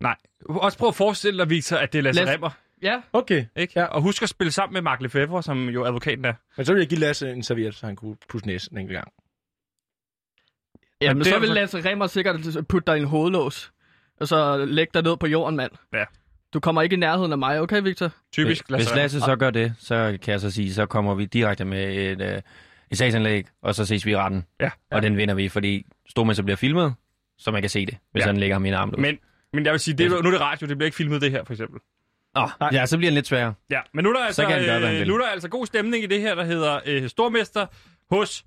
Speaker 1: Nej. Også prøv at forestille dig, Victor, at det er Lasse
Speaker 2: Lasse-
Speaker 1: Remmer.
Speaker 2: Ja,
Speaker 4: Okay.
Speaker 1: Ikke? Ja.
Speaker 4: Ja.
Speaker 1: Og husk at spille sammen med Mark Lefebvre, som jo advokaten er.
Speaker 4: Men så vil jeg give Lasse en serviet, så han kunne pusse næsen en enkelt gang.
Speaker 2: Jamen,
Speaker 1: det
Speaker 2: så
Speaker 1: er
Speaker 2: vil
Speaker 1: for-
Speaker 2: Lasse Remmer sikkert putte dig i en hovedlås. Og så lægge dig ned på jorden, mand.
Speaker 1: Ja.
Speaker 2: Du kommer ikke i nærheden af mig, okay, Victor?
Speaker 1: Typisk
Speaker 3: Hvis Lasse så gør det, så kan jeg så sige, så kommer vi direkte med et, øh, et sagsanlæg, og så ses vi i retten.
Speaker 1: Ja.
Speaker 3: Og den vinder vi, fordi Stormester bliver filmet, så man kan se det, hvis
Speaker 1: Ja.
Speaker 3: ja. han lægger min arm ud.
Speaker 1: Men, men jeg vil sige, det, er- nu er det radio, det bliver ikke filmet det her, for eksempel.
Speaker 3: Nå, ja, så bliver den lidt sværere.
Speaker 1: Ja, men nu er der altså,
Speaker 3: kan han gøre, hvad han
Speaker 1: øh,
Speaker 3: vil.
Speaker 1: nu er der altså god stemning i det her, der hedder øh, Stormester hos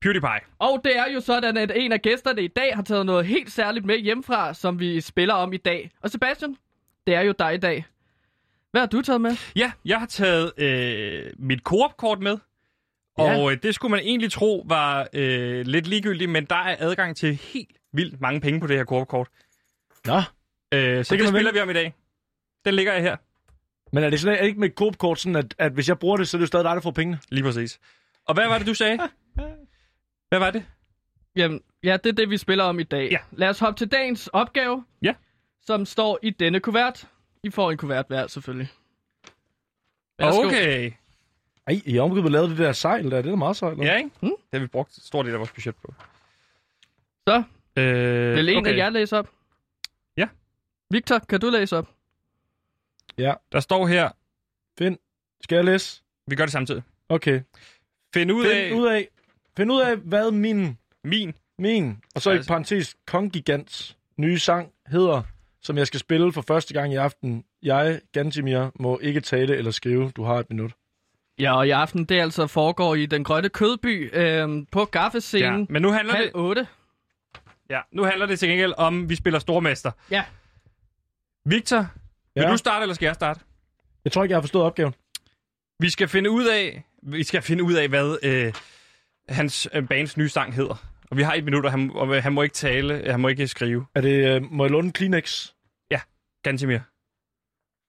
Speaker 1: PewDiePie.
Speaker 2: Og det er jo sådan, at en af gæsterne i dag har taget noget helt særligt med hjemmefra, som vi spiller om i dag. Og Sebastian, det er jo dig i dag. Hvad har du taget med?
Speaker 1: Ja, jeg har taget øh, mit Coop-kort med. Og øh, det skulle man egentlig tro var øh, lidt ligegyldigt, men der er adgang til helt vildt mange penge på det her Coop-kort.
Speaker 4: Nå,
Speaker 1: Øh, så det, det
Speaker 4: kan man
Speaker 1: spiller
Speaker 4: vælge.
Speaker 1: vi om i dag. Den ligger jeg her,
Speaker 4: men er det sådan, er det ikke med Coop-kort sådan, at, at hvis jeg bruger det, så er det jo stadig dig, der får pengene?
Speaker 1: lige præcis. Og hvad var det, du sagde? Hvad var det?
Speaker 2: Jamen, ja, det er det, vi spiller om i dag.
Speaker 1: Ja.
Speaker 2: Lad os hoppe til dagens opgave,
Speaker 1: Ja.
Speaker 2: som står i denne kuvert. I får en kuvert hver, selvfølgelig. Værsgo.
Speaker 1: Okay.
Speaker 4: Ej, I har omgivet lavet det der sejl der, det er da meget sejl.
Speaker 1: Ja, ikke?
Speaker 2: Hmm?
Speaker 1: Det har vi brugt stor del af vores budget på.
Speaker 2: Så
Speaker 1: Øh,
Speaker 2: vil en af jer læse op?
Speaker 1: Ja.
Speaker 2: Victor, kan du læse op?
Speaker 1: Der står her,
Speaker 4: Find. Skal jeg læse?
Speaker 1: vi gør det samtidig.
Speaker 4: Okay.
Speaker 1: Find ud af
Speaker 4: Find ud af, find ud af hvad min,
Speaker 1: min.
Speaker 4: min, og så i
Speaker 1: Altså-
Speaker 4: parentes, Kongigants nye sang hedder, som jeg skal spille for første gang i aften. Jeg, Gantimir, må ikke tale eller skrive. Du har et minut.
Speaker 2: Ja, og i aften, det altså foregår i den grønne kødby øh, på
Speaker 1: Ja.
Speaker 2: gaffescenen.
Speaker 1: Men nu handler,
Speaker 2: Halv
Speaker 1: det,
Speaker 2: otte.
Speaker 1: ja, nu handler det til gengæld om, vi spiller stormester.
Speaker 2: Ja.
Speaker 1: Victor, vil
Speaker 4: Ja.
Speaker 1: du starte, eller skal jeg starte?
Speaker 4: Jeg tror ikke, jeg har forstået opgaven.
Speaker 1: Vi skal finde ud af, vi skal finde ud af hvad øh, hans øh, bands nye sang hedder. Og vi har et minut, og han, og øh, han må ikke tale, øh, han må ikke skrive.
Speaker 4: Er det, øh, må jeg låne en Kleenex?
Speaker 1: Gantimir.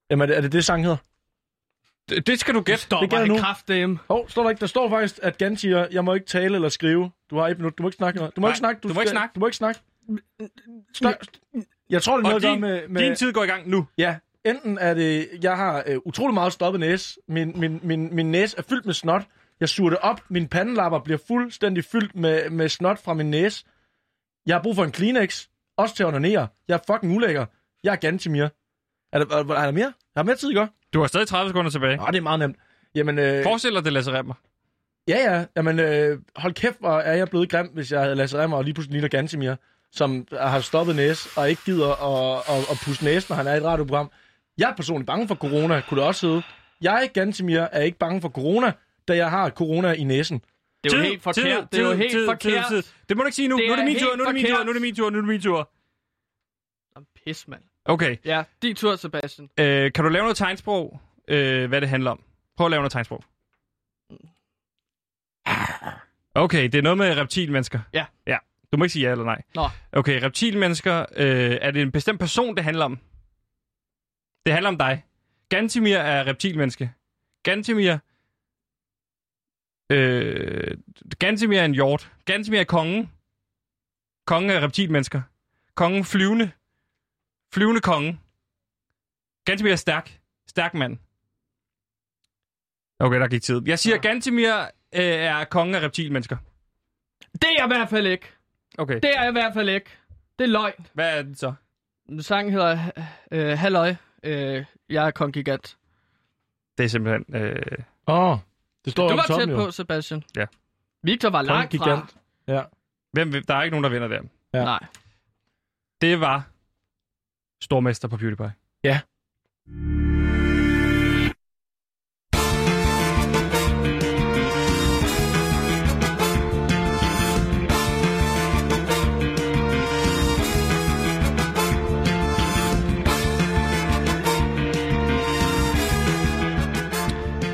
Speaker 4: Jamen, er det, er det det, sang hedder?
Speaker 1: Det, det skal du gætte.
Speaker 2: Stop
Speaker 4: Det gælder nu.
Speaker 2: mig kraftdame.
Speaker 4: Hov, oh, står der ikke? Der står faktisk, at Gan siger, jeg må ikke tale eller skrive. Du har et minut. Du må ikke snakke noget. Du må
Speaker 1: Nej,
Speaker 4: ikke snakke.
Speaker 1: du må ikke
Speaker 4: skal-
Speaker 1: snakke.
Speaker 4: Du må ikke snakke. Snak. Jeg tror, det er
Speaker 1: Og
Speaker 4: noget at
Speaker 1: din,
Speaker 4: gøre med... med
Speaker 1: din tid går i gang nu.
Speaker 4: Ja, enten er det... Jeg har øh, utrolig meget stoppet næse. Min, min, min, min næse er fyldt med snot. Jeg suger det op. Min pandelapper bliver fuldstændig fyldt med, med snot fra min næse. Jeg har brug for en Kleenex. Også til at onanere. Jeg er fucking ulækker. Jeg er Gantimir. Er der, er, er der mere? Jeg har mere tid, ikke?
Speaker 1: Du har stadig 30 sekunder tilbage.
Speaker 4: Nå, det er meget nemt. Jamen, øh,
Speaker 1: Forestil dig, det Lasse Remmer.
Speaker 4: Ja, ja. Jamen, øh, hold kæft, hvor er jeg blevet grim, hvis jeg havde Lasse Remmer og lige pludselig ligner Gansimir, som har stoppet næse og ikke gider at, at, at pusse næsen, når han er i et radioprogram. Jeg er personligt bange for corona, kunne det også hedde. Jeg, Gansimir, er ikke bange for corona, da jeg har corona i næsen.
Speaker 2: Det er jo helt forkert. Det er jo helt forkert.
Speaker 1: Det må du ikke sige nu.
Speaker 2: Det
Speaker 1: nu er det
Speaker 2: er
Speaker 1: min tur,
Speaker 2: helt
Speaker 1: nu er det min tur,
Speaker 2: forkert.
Speaker 1: nu er det min tur, nu er det min tur.
Speaker 2: Jamen, Pis, mand.
Speaker 1: Okay.
Speaker 2: Ja, din tur, Sebastian.
Speaker 1: Øh, kan du lave noget tegnsprog, øh, hvad det handler om? Prøv at lave noget tegnsprog.
Speaker 2: Mm.
Speaker 1: Okay, det er noget med reptilmennesker.
Speaker 2: Ja.
Speaker 1: ja. Du må ikke sige ja eller nej.
Speaker 2: Nå.
Speaker 1: Okay, reptilmennesker. Øh, er det en bestemt person, det handler om? Det handler om dig. Gantimir er reptilmenneske. Gantimir... Øh, Gantimir er en hjort. Gantimir er kongen. Kongen er reptilmennesker. Kongen flyvende. Flyvende kongen. Gantimir er stærk. Stærk mand. Okay, der gik tid. Jeg siger, Gantimir øh, er kongen af reptilmennesker.
Speaker 2: Det er jeg i hvert fald ikke.
Speaker 1: Okay,
Speaker 2: Det er jeg i hvert fald ikke. Det er løgn.
Speaker 1: hvad er det så?
Speaker 2: Sangen hedder øh, Halløj. Øh, jeg er kong gigant.
Speaker 1: Det er simpelthen... Øh...
Speaker 4: Åh, oh, det står
Speaker 2: Du
Speaker 4: jo om
Speaker 2: var
Speaker 4: toppen,
Speaker 2: tæt
Speaker 4: jo.
Speaker 2: på, Sebastian.
Speaker 1: Ja.
Speaker 2: Victor var
Speaker 4: Kong
Speaker 2: langt fra.
Speaker 4: Gigant. Ja.
Speaker 1: Hvem, vil- der er ikke nogen, der vinder der.
Speaker 4: Ja.
Speaker 2: Nej.
Speaker 1: Det var stormester på PewDiePie.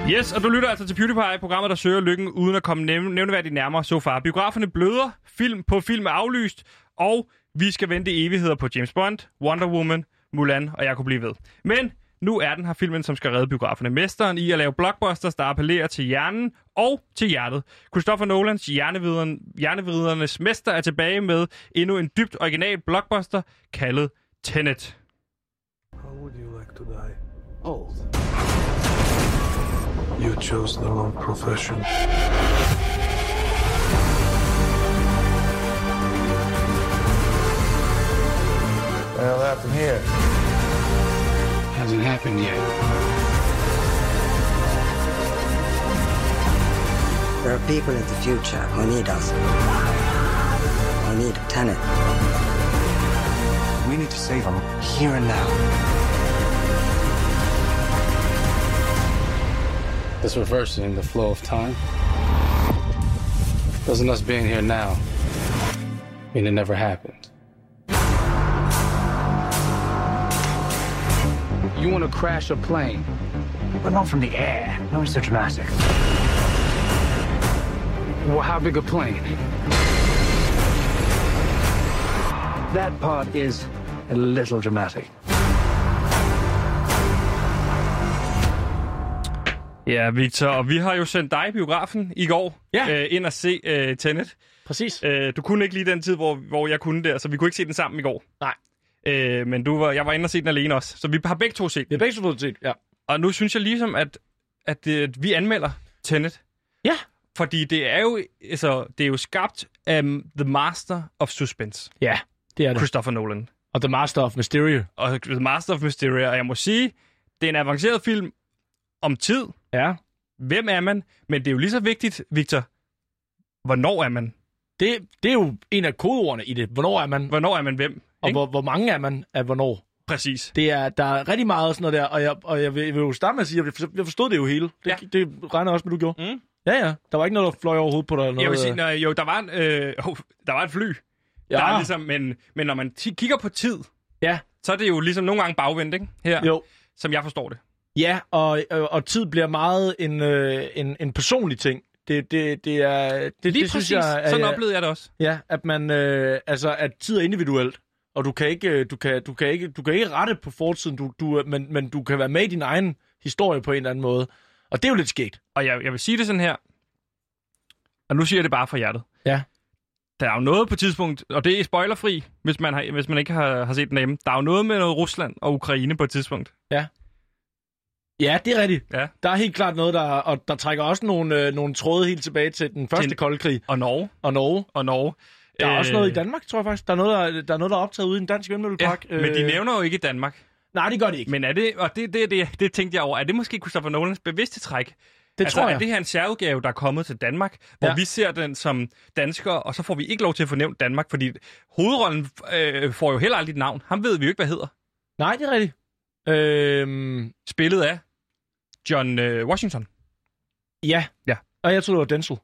Speaker 1: Yes, og du lytter altså til PewDiePie, programmet, der søger lykken uden at komme nævne, nævneværdigt nærmere så far. Biograferne bløder, film på film er aflyst, og vi skal vente evigheder på James Bond, Wonder Woman, Mulan, og jeg kunne blive ved. Men nu er den her filmen, som skal redde biograferne. Mesteren i at lave blockbusters, der appellerer til hjernen og til hjertet. Christopher Nolans hjernevideren, hjernevridernes mester er tilbage med endnu en dybt original blockbuster kaldet Tenet.
Speaker 7: How would you like to die? Old. You chose the wrong profession.
Speaker 8: hell happened here? Hasn't happened yet.
Speaker 9: There are people in the future who need us. Who need Tenet. We need to save them here and now.
Speaker 10: This reversing the flow of time doesn't us being here now mean it never happened. You want to crash a plane,
Speaker 11: but not from the air. No, it's so dramatic.
Speaker 10: Well, how big a plane?
Speaker 11: That part is a little dramatic.
Speaker 1: Ja, Victor, og vi har jo sendt dig i biografen i går
Speaker 4: Ja.
Speaker 1: øh, ind og se øh, Tenet.
Speaker 4: Præcis.
Speaker 1: Øh, du kunne ikke lige den tid, hvor, hvor jeg kunne der, så vi kunne ikke se den sammen i går.
Speaker 4: Nej.
Speaker 1: Øh, men du var, jeg var inde og se den alene også, så vi har begge to set
Speaker 4: Det er
Speaker 1: den.
Speaker 4: begge to set, ja.
Speaker 1: Og nu synes jeg ligesom, at, at, øh, at vi anmelder Tenet.
Speaker 4: Ja.
Speaker 1: Fordi det er jo, altså, det er jo skabt af um, The Master of Suspense,
Speaker 4: Ja, det er det.
Speaker 1: Christopher Nolan.
Speaker 4: Og The Master of Mysterio.
Speaker 1: Og The Master of Mysteria, og jeg må sige, det er en avanceret film om tid.
Speaker 4: Ja.
Speaker 1: Hvem er man? Men det er jo lige så vigtigt, Victor, hvornår er man?
Speaker 4: Det, det er jo en af kodeordene i det. Hvornår er man?
Speaker 1: Hvornår er man hvem?
Speaker 4: Og
Speaker 1: Ikke?
Speaker 4: hvor, hvor mange er man af hvornår?
Speaker 1: Præcis.
Speaker 4: Det er, der er rigtig meget sådan noget der, og jeg, og jeg, vil, jeg vil jo starte med at sige, at jeg for- jeg forstod det jo hele. Det,
Speaker 1: Ja.
Speaker 4: ja. det regner jeg også med, du gjorde.
Speaker 1: Mm.
Speaker 4: Ja, ja. Der var ikke noget, der fløj overhovedet på dig. Eller noget,
Speaker 1: Jeg vil sige,
Speaker 4: øh.
Speaker 1: når, jo, der var, en, øh, oh, der var et fly.
Speaker 4: Ja.
Speaker 1: Der er ligesom, men, men når man ti- kigger på tid,
Speaker 4: Ja.
Speaker 1: så er det jo ligesom nogle gange bagvendt, ikke? Her,
Speaker 4: Jo.
Speaker 1: som jeg forstår det.
Speaker 4: Ja, og, øh, og, og tid bliver meget en, øh, en, en personlig ting. Det, det, det er... Det,
Speaker 1: Lige
Speaker 4: det
Speaker 1: præcis.
Speaker 4: synes jeg, er-
Speaker 1: Sådan
Speaker 4: ja,
Speaker 1: oplevede jeg det også.
Speaker 4: Ja, at man... Øh, altså, at tid er individuelt, og du kan ikke, øh, du kan, du kan ikke, du kan ikke rette på fortiden, du, du, er- men, men du kan være med i din egen historie på en eller anden måde. Og det er jo lidt sket.
Speaker 1: Og jeg, jeg vil sige det sådan her, og nu siger jeg det bare fra hjertet.
Speaker 4: Ja.
Speaker 1: Der er jo noget på et tidspunkt, og det er spoilerfri, hvis man, har, hvis man ikke har, har set den hjemme. Der er jo noget med noget Rusland og Ukraine på et tidspunkt.
Speaker 4: Ja, det er rigtigt.
Speaker 1: Ja.
Speaker 4: Der er helt klart noget, der, og der trækker også nogle, øh, nogle tråde helt tilbage til den første
Speaker 1: Til-
Speaker 4: kolde krig
Speaker 1: Og Norge.
Speaker 4: og Norge.
Speaker 1: Og Norge.
Speaker 4: Der er øh... også
Speaker 1: Øh,
Speaker 4: noget i Danmark, tror jeg faktisk. Der er noget, der, der er, noget, der er optaget ude i en dansk
Speaker 1: Ja,
Speaker 4: vindmøllepark. Øh,
Speaker 1: men de nævner jo ikke Danmark.
Speaker 4: Nej, det gør de ikke.
Speaker 1: Men er det, og det, det, det, det tænkte jeg over, er det måske Christopher Nolans bevidste træk?
Speaker 4: Det
Speaker 1: altså,
Speaker 4: tror jeg.
Speaker 1: er det her en særudgave, der er kommet til Danmark, hvor
Speaker 4: Ja.
Speaker 1: vi ser den som danskere, og så får vi ikke lov til at fornævne Danmark, fordi hovedrollen øh, får jo heller aldrig et navn. Ham ved vi jo ikke, hvad hedder.
Speaker 4: Nej, det er rigtigt. Øhm,
Speaker 1: Spillet af John øh, Washington.
Speaker 4: ja.
Speaker 1: Ja.
Speaker 4: Og jeg tror det var Denzel.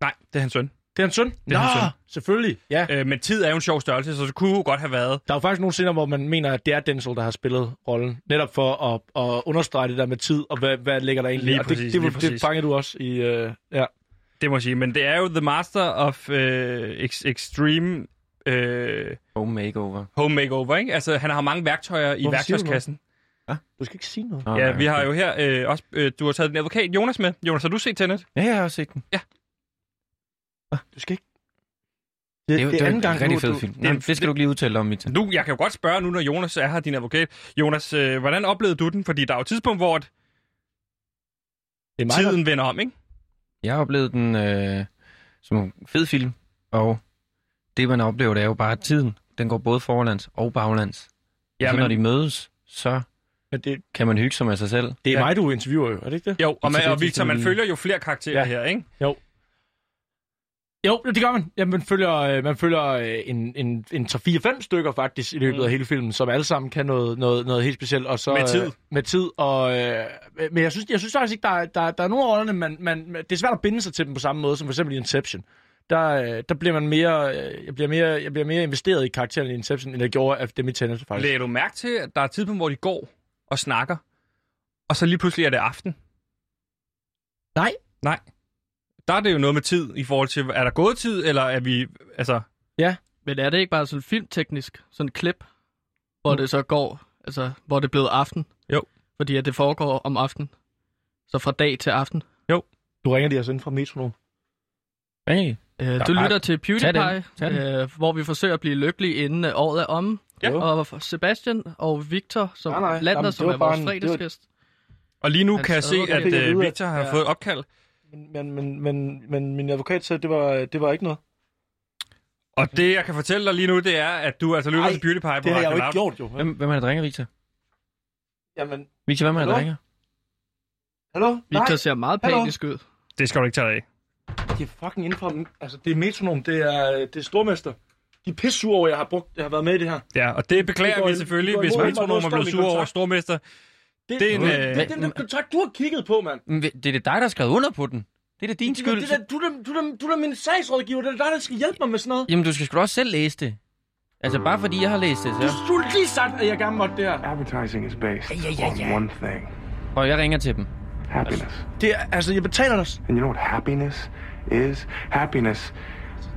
Speaker 1: Nej, det er hans søn.
Speaker 4: Det er hans søn? Det
Speaker 1: er hans søn.
Speaker 4: selvfølgelig. Ja.
Speaker 1: Øh, men tid er jo en sjov størrelse, så det kunne jo godt have været.
Speaker 4: Der er jo faktisk nogle scener, hvor man mener, at det er Denzel, der har spillet rollen. Netop for at, at understrege det der med tid, og hvad, hvad ligger der egentlig.
Speaker 1: Lige
Speaker 4: og
Speaker 1: præcis,
Speaker 4: det, det,
Speaker 1: lige
Speaker 4: det,
Speaker 1: præcis.
Speaker 4: det fangede du også i... Øh, ja.
Speaker 1: Det må jeg sige, men det er jo The Master of øh, ex- Extreme øh,
Speaker 3: Home makeover.
Speaker 1: Home Makeover, ikke? Altså, han har mange værktøjer i
Speaker 4: Hvorfor siger du
Speaker 1: værktøjskassen.
Speaker 4: Du skal ikke sige noget.
Speaker 3: Nå,
Speaker 1: Ja,
Speaker 3: nej,
Speaker 1: vi har
Speaker 3: okay.
Speaker 1: jo her øh, også... Øh, du har taget din advokat Jonas med. Jonas, har du set Tenet?
Speaker 3: Ja, jeg har også set den.
Speaker 4: Du skal ikke...
Speaker 3: Det, er jo- det, det er
Speaker 4: anden
Speaker 3: en
Speaker 4: gang,
Speaker 3: rigtig
Speaker 4: du-
Speaker 3: fed
Speaker 4: du-
Speaker 3: film. Nå, det skal du ikke lige udtale dig om, Victor.
Speaker 1: Nu, jeg kan jo godt spørge nu, når Jonas er her, din advokat. Jonas, øh, hvordan oplevede du den? Fordi der er jo et tidspunkt, hvor at
Speaker 4: Det er mig, der-
Speaker 1: tiden vender om, ikke?
Speaker 3: Jeg har oplevet den øh, som en fed film, og det, man oplever, det er jo bare at tiden. Den går både forlands og baglands. Ja, så
Speaker 1: Jamen.
Speaker 3: når de mødes, så
Speaker 4: Men det,
Speaker 3: kan man hygge sig med sig selv.
Speaker 4: det er
Speaker 1: Ja.
Speaker 4: ja. mig, du interviewer jo, er det ikke det?
Speaker 1: Jo, og, man,
Speaker 3: det er
Speaker 1: og Victor, man
Speaker 3: teknologi.
Speaker 1: følger jo flere karakterer ja.
Speaker 4: Ja.
Speaker 1: her, ikke?
Speaker 4: Jo, det gør man. Ja, man følger, øh, man følger øh, en, en, en 3-4-5 stykker faktisk i løbet
Speaker 1: Mm.
Speaker 4: af hele filmen, som alle sammen kan noget, noget, noget helt specielt. Og så,
Speaker 1: Med tid.
Speaker 4: Øh, med tid. Og, øh, men jeg synes, jeg synes faktisk ikke, der, er- der, der er nogle af rollerne, man, man, det er svært at binde sig til dem på samme måde, som for eksempel i Inception. Der, øh, der bliver man mere, øh, jeg, bliver mere, jeg bliver mere investeret i karakteren i Inception, end jeg gjorde af dem i Tenet, faktisk.
Speaker 1: Lægger du mærke til, at der er et tidspunkt, hvor de går og snakker, og så lige pludselig er det aften?
Speaker 4: Nej.
Speaker 1: Nej. Der er det jo noget med tid i forhold til, er der gået tid, eller er vi... Altså,
Speaker 2: Men er det ikke bare sådan filmteknisk, sådan et klip, hvor det så går, altså hvor det er blevet aften?
Speaker 1: Jo.
Speaker 2: Fordi at det foregår om aftenen. Så fra dag til aften.
Speaker 4: Du ringer de altså ind fra metronom.
Speaker 3: Hey.
Speaker 2: Øh,
Speaker 3: er
Speaker 2: du
Speaker 3: bare-
Speaker 2: lytter til
Speaker 3: Tag
Speaker 2: PewDiePie,
Speaker 3: den. Tag den.
Speaker 2: øh, hvor vi forsøger at blive lykkelige inden øh, året er omme.
Speaker 1: Ja.
Speaker 2: Og Sebastian og Victor, som
Speaker 4: Nej, nej.
Speaker 2: lander,
Speaker 4: Jamen,
Speaker 2: som
Speaker 4: det
Speaker 2: er
Speaker 4: var bare
Speaker 2: vores
Speaker 4: en- det var-
Speaker 2: fredagsgæst.
Speaker 1: og lige nu
Speaker 2: Hans
Speaker 1: kan jeg se,
Speaker 2: advokat.
Speaker 1: at
Speaker 2: Det
Speaker 4: fik jeg
Speaker 1: øh,
Speaker 4: vide, at-
Speaker 1: Victor har
Speaker 4: ja.
Speaker 1: fået et opkald,
Speaker 4: Men, men, men, men, men min advokat sagde, at det var, det var ikke noget.
Speaker 1: og det, jeg kan fortælle dig lige nu, det er, at du altså lytter
Speaker 4: Ej,
Speaker 1: til Beauty Pie på
Speaker 4: Det har jeg jo
Speaker 1: Radio
Speaker 4: ikke
Speaker 1: Loud.
Speaker 4: gjort, jo.
Speaker 3: Hvem, hvem er det, der ringer, Victor?
Speaker 4: Jamen,
Speaker 3: Victor, hvem er det, der
Speaker 4: Hallo?
Speaker 3: ringer?
Speaker 4: hallo? Nej.
Speaker 2: Victor ser meget
Speaker 4: Hallo.
Speaker 2: panisk ud.
Speaker 1: Det skal du ikke tage dig af.
Speaker 4: Det er fucking inden for... Altså, det er metronom, det er, det er stormester. De er pisse sure over, at jeg har, brugt, jeg har været med i det her.
Speaker 1: Ja, og det beklager
Speaker 4: Det går
Speaker 1: vi
Speaker 4: i-
Speaker 1: selvfølgelig,
Speaker 4: det går
Speaker 1: hvis
Speaker 4: imod mig,
Speaker 1: metronom er
Speaker 4: det
Speaker 1: blevet
Speaker 4: står i
Speaker 1: sur over
Speaker 4: kontrakt.
Speaker 1: stormester.
Speaker 4: Det,
Speaker 1: Det er en,
Speaker 4: det,
Speaker 1: øh,
Speaker 4: det, er den der kontrakt, du har kigget på, mand.
Speaker 3: Men Det er det dig, der har skrevet under på den. Det er da din
Speaker 4: Det, er-
Speaker 3: skyld.
Speaker 4: det, er- du, er, du, er, du er min sagsrådgiver, det er dig, der skal hjælpe mig med sådan noget.
Speaker 3: Jamen, du skal sgu da også selv læse det. Altså, bare fordi jeg har læst det, så...
Speaker 4: Du har lige sagt, at jeg gerne måtte det her.
Speaker 8: Advertising is based on one thing
Speaker 3: Og jeg ringer til dem.
Speaker 8: happiness.
Speaker 4: Det er, altså, jeg betaler dig. s-
Speaker 8: And you know what happiness is? Happiness is the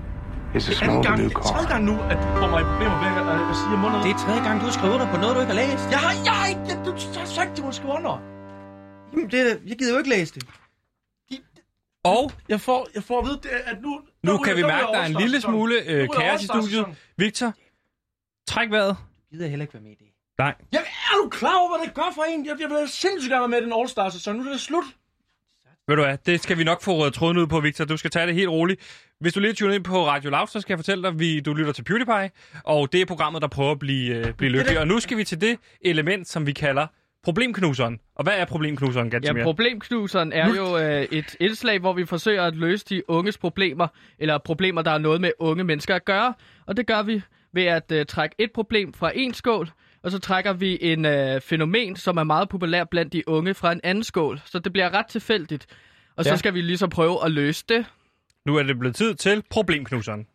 Speaker 4: Det er
Speaker 8: smell
Speaker 4: anden
Speaker 8: of a
Speaker 4: gang,
Speaker 8: new
Speaker 4: det er
Speaker 8: car.
Speaker 4: tredje gang nu, at du kommer i problemer med, at jeg siger munden.
Speaker 3: Det er tredje gang, du har skrevet under på noget, du ikke har læst.
Speaker 4: Jeg har, jeg har ikke, jeg, du har sagt, at du har skrevet under.
Speaker 3: Jamen, det er, jeg gider jo ikke læse det.
Speaker 1: Og
Speaker 4: Jeg får, jeg får at vide, det, er, at nu...
Speaker 1: nu
Speaker 4: ryger-
Speaker 1: kan vi
Speaker 4: ryger
Speaker 1: mærke, at der er en
Speaker 4: overstartssæsonen.
Speaker 1: lille smule
Speaker 4: Nu
Speaker 1: øh,
Speaker 4: ryger
Speaker 1: kaos i studiet.
Speaker 4: overstartssæsonen.
Speaker 1: Victor, træk vejret.
Speaker 3: Gider heller ikke være med i det.
Speaker 1: Nej.
Speaker 4: Jamen, er du klar over, hvad det gør for en? Jeg, jeg vil sindssygt gerne være med i den All-Star-sæson. Nu er det slut.
Speaker 1: Ved du hvad, det skal vi nok få rødt tråden ud på, Victor. Du skal tage det helt roligt. Hvis du lige tuner ind på Radio Loud, så skal jeg fortælle dig, at du lytter til PewDiePie, og det er programmet, der prøver at blive, øh, blive lykkelig. Og nu skal vi til det element, som vi kalder problemknuseren. Og hvad er problemknuseren, Gansimir?
Speaker 2: Ja, problemknuseren er jo øh, et indslag, hvor vi forsøger at løse de unges problemer, eller problemer, der er noget med unge mennesker at gøre. Og det gør vi ved at øh, trække et problem fra en skål, og så trækker vi en øh, fænomen, som er meget populær blandt de unge, fra en anden skål. Så det bliver ret tilfældigt. Og ja.
Speaker 1: Ja.
Speaker 2: så skal vi ligesom prøve at løse det.
Speaker 1: Nu er det blevet tid til problemknuseren.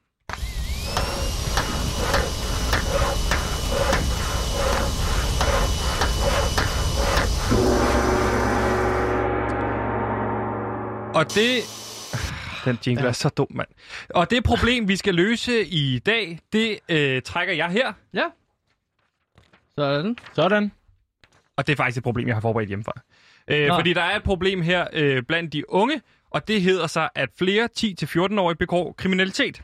Speaker 1: Og det... Den jingle ja. er så dum, mand. Og det problem, vi skal løse i dag, det øh, trækker jeg her.
Speaker 2: Ja. Sådan.
Speaker 4: Sådan.
Speaker 1: Og det er faktisk et problem, jeg har forberedt hjemmefra. Øh,
Speaker 2: Nå.
Speaker 1: fordi der er et problem her øh, blandt de unge, og det hedder sig, at flere 10-14-årige begår kriminalitet.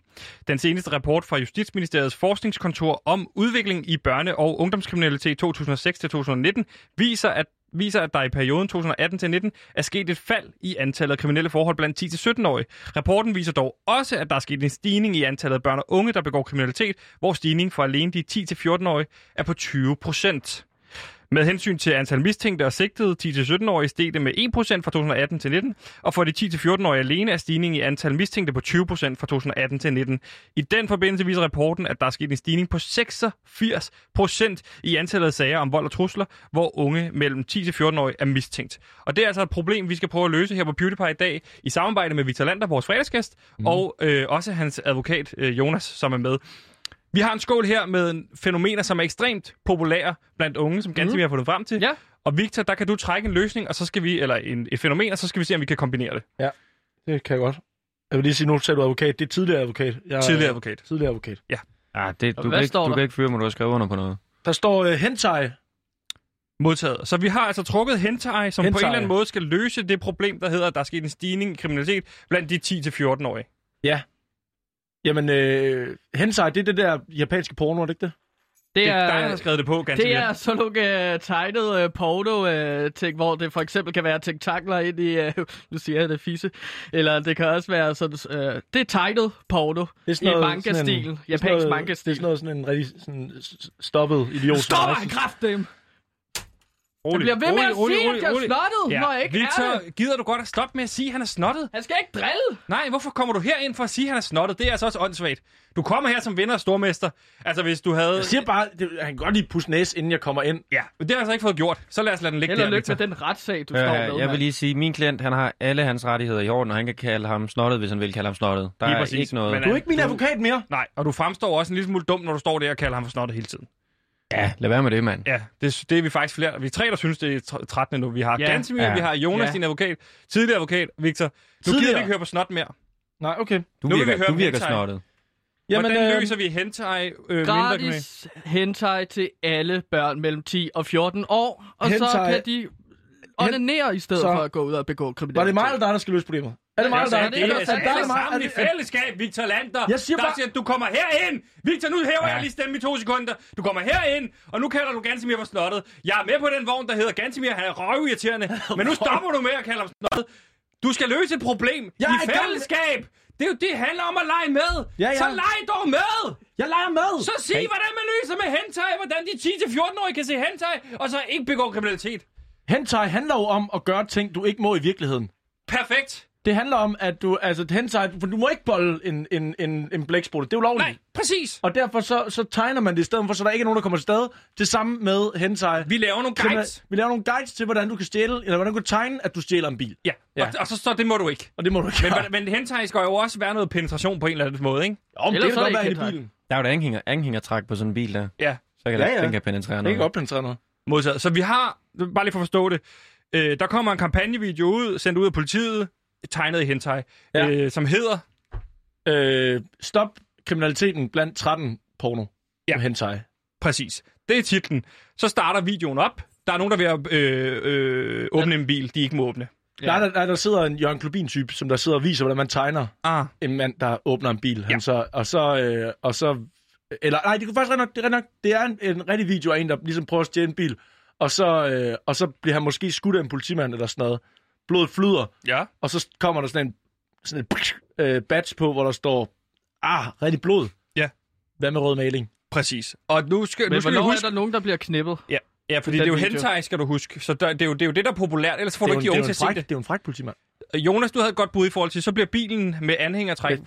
Speaker 1: Den seneste rapport fra Justitsministeriets forskningskontor om udvikling i børne- og ungdomskriminalitet 2006-2019 viser, at viser, at der i perioden 2018-19 er sket et fald i antallet af kriminelle forhold blandt 10-17-årige. Rapporten viser dog også, at der er sket en stigning i antallet af børn og unge, der begår kriminalitet, hvor stigningen for alene de 10-14-årige er på 20 procent. Med hensyn til antal mistænkte og sigtede 10-17-årige steg det med 1% fra 2018 til 19, og for de 10-14-årige alene er stigningen i antal mistænkte på 20% fra 2018 til 19. I den forbindelse viser rapporten, at der er sket en stigning på 86% i antallet af sager om vold og trusler, hvor unge mellem 10-14-årige er mistænkt. Og det er altså et problem, vi skal prøve at løse her på PewDiePie i dag, i samarbejde med Victor Lander, vores fredagsgæst, mm. og øh, også hans advokat øh, Jonas, som er med. Vi har en skål her med en- fænomener, som er ekstremt populære blandt unge, som ganske mm. vi har fundet frem til.
Speaker 2: Mhm. Ja.
Speaker 1: Og Victor, der kan du trække en løsning, og så skal vi, eller en, et fænomen, og så skal vi se, om vi kan kombinere det.
Speaker 4: Det kan jeg godt. Jeg vil lige sige, nu sagde du advokat. Det er tidligere advokat. Jeg,
Speaker 1: Tidligere advokat.
Speaker 4: Tidligere advokat.
Speaker 3: Ah, det,
Speaker 2: Og
Speaker 3: du,
Speaker 2: hvad
Speaker 3: kan ikke,
Speaker 2: står
Speaker 3: du
Speaker 2: der?
Speaker 3: kan ikke fyre mig, du har skrevet under på noget.
Speaker 4: Der står øh, hentai.
Speaker 1: Modtaget. Så vi har altså trukket hentai, som hentai. på en
Speaker 4: Hentai.
Speaker 1: eller anden måde skal løse det problem, der hedder, at der er sket en stigning i kriminalitet blandt de 10-14-årige.
Speaker 4: Ja. Jamen, øh, hentai, det er det der japanske porno, er det ikke det?
Speaker 1: Det er dig, der har skrevet det på, ganske
Speaker 2: Det er sådan nogle øh, tegnet øh, porno-ting, hvor det for eksempel kan være tentakler ind i, øh, nu siger jeg det fisse, eller det kan også være sådan, øh, det er tegnet porno
Speaker 4: Det
Speaker 2: i manga-stil,
Speaker 4: det er sådan
Speaker 2: japansk
Speaker 4: noget- Det er sådan
Speaker 2: manga-stil.
Speaker 4: noget sådan en rigtig sådan, s- s- stoppet idiot. som
Speaker 2: Stop
Speaker 4: jeg
Speaker 2: mig,
Speaker 4: synes-
Speaker 2: kraftdem!
Speaker 1: Rolig,
Speaker 2: Jeg bliver ved med at
Speaker 1: rolig,
Speaker 2: sige,
Speaker 1: rolig,
Speaker 2: at jeg er
Speaker 1: rolig.
Speaker 2: snottet, når jeg ikke
Speaker 1: Victor,
Speaker 2: er det.
Speaker 1: gider du godt at stoppe med at sige, at han er snottet?
Speaker 2: Han skal ikke drille!
Speaker 1: Nej, hvorfor kommer du herind for at sige, at han er snottet? Det er altså også åndssvagt. Du kommer her som vinder og stormester. Altså, hvis du havde...
Speaker 4: Jeg siger bare, det, han kan godt lige pusse næse, inden jeg kommer ind.
Speaker 1: Ja, men det har jeg altså ikke fået gjort. Så lad os lade den ligge
Speaker 2: Held og
Speaker 1: der,
Speaker 2: lykke
Speaker 1: Victor.
Speaker 2: med den retssag, du
Speaker 3: Øh,
Speaker 2: står med,
Speaker 3: jeg vil
Speaker 2: mand.
Speaker 3: lige sige, at min klient han har alle hans rettigheder i orden, og han kan kalde ham snottet, hvis han vil kalde ham snottet. Der
Speaker 1: Lige
Speaker 3: er
Speaker 1: præcis.
Speaker 3: ikke noget.
Speaker 1: Men
Speaker 4: Du er ikke min advokat mere.
Speaker 1: Nej, og du fremstår også en lille smule dum, når du står der og kalder ham for snottet hele tiden.
Speaker 3: Ja, lad være med det, mand.
Speaker 1: Ja, det, det er vi faktisk flere. Vi er tre, der synes, det er tr- 13. nu. Vi har
Speaker 2: Ja.
Speaker 1: ja. Gansimir,
Speaker 3: Ja.
Speaker 1: vi har Jonas,
Speaker 2: Ja.
Speaker 1: din advokat, tidligere advokat, Victor. Nu gider
Speaker 4: Tidligere.
Speaker 1: vi ikke høre på snot mere.
Speaker 4: Nej, okay.
Speaker 1: Nu
Speaker 3: Du
Speaker 1: vil vi
Speaker 3: virker,
Speaker 1: høre
Speaker 3: du
Speaker 1: om
Speaker 3: virker
Speaker 1: hentai.
Speaker 3: snottet.
Speaker 1: Jamen, Hvordan
Speaker 4: øh,
Speaker 1: løser vi hentai øh, mindre kriminalitet?
Speaker 2: Gratis hentai til alle børn mellem 10 og 14 år, og så
Speaker 4: Hentai-
Speaker 2: kan de onanere i stedet
Speaker 4: Så-
Speaker 2: for at gå ud og begå kriminalitet.
Speaker 4: Var det mig eller dig, der skal løse problemet? Er det mig
Speaker 2: Ja, så
Speaker 4: eller dig?
Speaker 2: er det ikke os
Speaker 4: Altså,
Speaker 2: alle
Speaker 4: der er det mig-
Speaker 1: sammen i
Speaker 4: er det-
Speaker 1: fællesskab, Victor Lander.
Speaker 4: Jeg siger
Speaker 1: der
Speaker 4: bare-
Speaker 1: siger, du kommer herind. Victor, nu hæver ja.
Speaker 3: Ja.
Speaker 1: jeg lige stemme i to sekunder. Du kommer herind, og nu kalder du Gansimir for snottet. Jeg er med på den vogn, der hedder Gansimir, han er røvirriterende. Men nu stopper du med at kalde ham snottet. Du skal løse et problem
Speaker 4: Jeg er i
Speaker 1: i
Speaker 4: gang med-
Speaker 1: fællesskab. Det er jo det, handler om at lege med.
Speaker 4: Ja, ja.
Speaker 1: Så leg dog med.
Speaker 4: Jeg leger med!
Speaker 1: Så sig, hey. hvordan man løser med hentai, hvordan de 10-14-årige kan se hentai, og så ikke begå kriminalitet.
Speaker 4: Hentai handler jo om at gøre ting, du ikke må i virkeligheden.
Speaker 1: Perfekt.
Speaker 4: Det handler om, at du, altså, hentai, for du må ikke bolle en, en, en, en blæksprutte. Det er ulovligt. Nej,
Speaker 1: præcis.
Speaker 4: Og derfor så, så tegner man det i stedet for, så der ikke er nogen, der kommer til stede. Det samme med hentai.
Speaker 1: Vi laver nogle
Speaker 4: Krimi-
Speaker 1: guides.
Speaker 4: Vi laver nogle guides til, hvordan du kan stjæle, eller hvordan du kan tegne, at du stjæler en bil.
Speaker 1: Ja, ja. Og, og, så står det må du ikke.
Speaker 4: Og det må du ikke.
Speaker 1: Men, men, men hentai skal jo også være noget penetration på en eller anden måde, ikke?
Speaker 4: Jo, men det kan godt være inde i bilen.
Speaker 3: Der er jo da anhænger, anhængertræk på sådan en bil der.
Speaker 1: Ja.
Speaker 3: Så kan
Speaker 1: Ja,
Speaker 3: ja, ja.
Speaker 1: ja.
Speaker 3: den kan penetrere
Speaker 4: Det kan
Speaker 3: noget.
Speaker 4: godt penetrere noget.
Speaker 1: Modsat. Så vi har, bare lige for at forstå det, øh, der kommer en kampagnevideo ud, sendt ud af politiet, tegnet i hentai, ja. øh, som hedder...
Speaker 4: Øh, stop kriminaliteten blandt 13 porno.
Speaker 1: Ja.
Speaker 4: Med hentai.
Speaker 1: Præcis. Det er titlen. Så starter videoen op. Der er nogen, der vil øh, øh, åbne en bil, de ikke må åbne.
Speaker 4: Ja. Der, er- der, der sidder en Jørgen Klubin-type, som der sidder og viser, hvordan man tegner
Speaker 1: ah.
Speaker 4: en mand, der åbner en bil. Ja. Han så, og så... Øh, og så eller, nej, det kunne faktisk ret nok, det er, ret nok, det er en, en rigtig video af en, der ligesom prøver at stjæle en bil, og så, øh, og så bliver han måske skudt af en politimand eller sådan noget. Blodet flyder,
Speaker 1: Ja.
Speaker 4: og så kommer der sådan en sådan et, øh, badge på, hvor der står, ah, rigtig blod.
Speaker 1: Ja.
Speaker 4: Hvad med rød maling?
Speaker 1: Præcis. Og nu skal,
Speaker 2: Men
Speaker 1: nu skal vi
Speaker 2: hvornår
Speaker 1: huske...
Speaker 2: er der nogen, der bliver knippet?
Speaker 1: Ja, ja fordi
Speaker 2: Den
Speaker 1: det er jo
Speaker 2: video.
Speaker 1: hentai, skal du huske. Så der, det, er jo, det er jo det, der er populært. Ellers får
Speaker 4: det
Speaker 1: du
Speaker 4: er
Speaker 1: ikke
Speaker 4: jo
Speaker 1: de unge
Speaker 4: en- det er
Speaker 1: til
Speaker 4: jo en
Speaker 1: at se
Speaker 4: fræk,
Speaker 1: det.
Speaker 4: det er jo en fræk politimand.
Speaker 1: Jonas, du havde et godt bud i forhold til, så bliver bilen med anhængertræk.
Speaker 3: Den,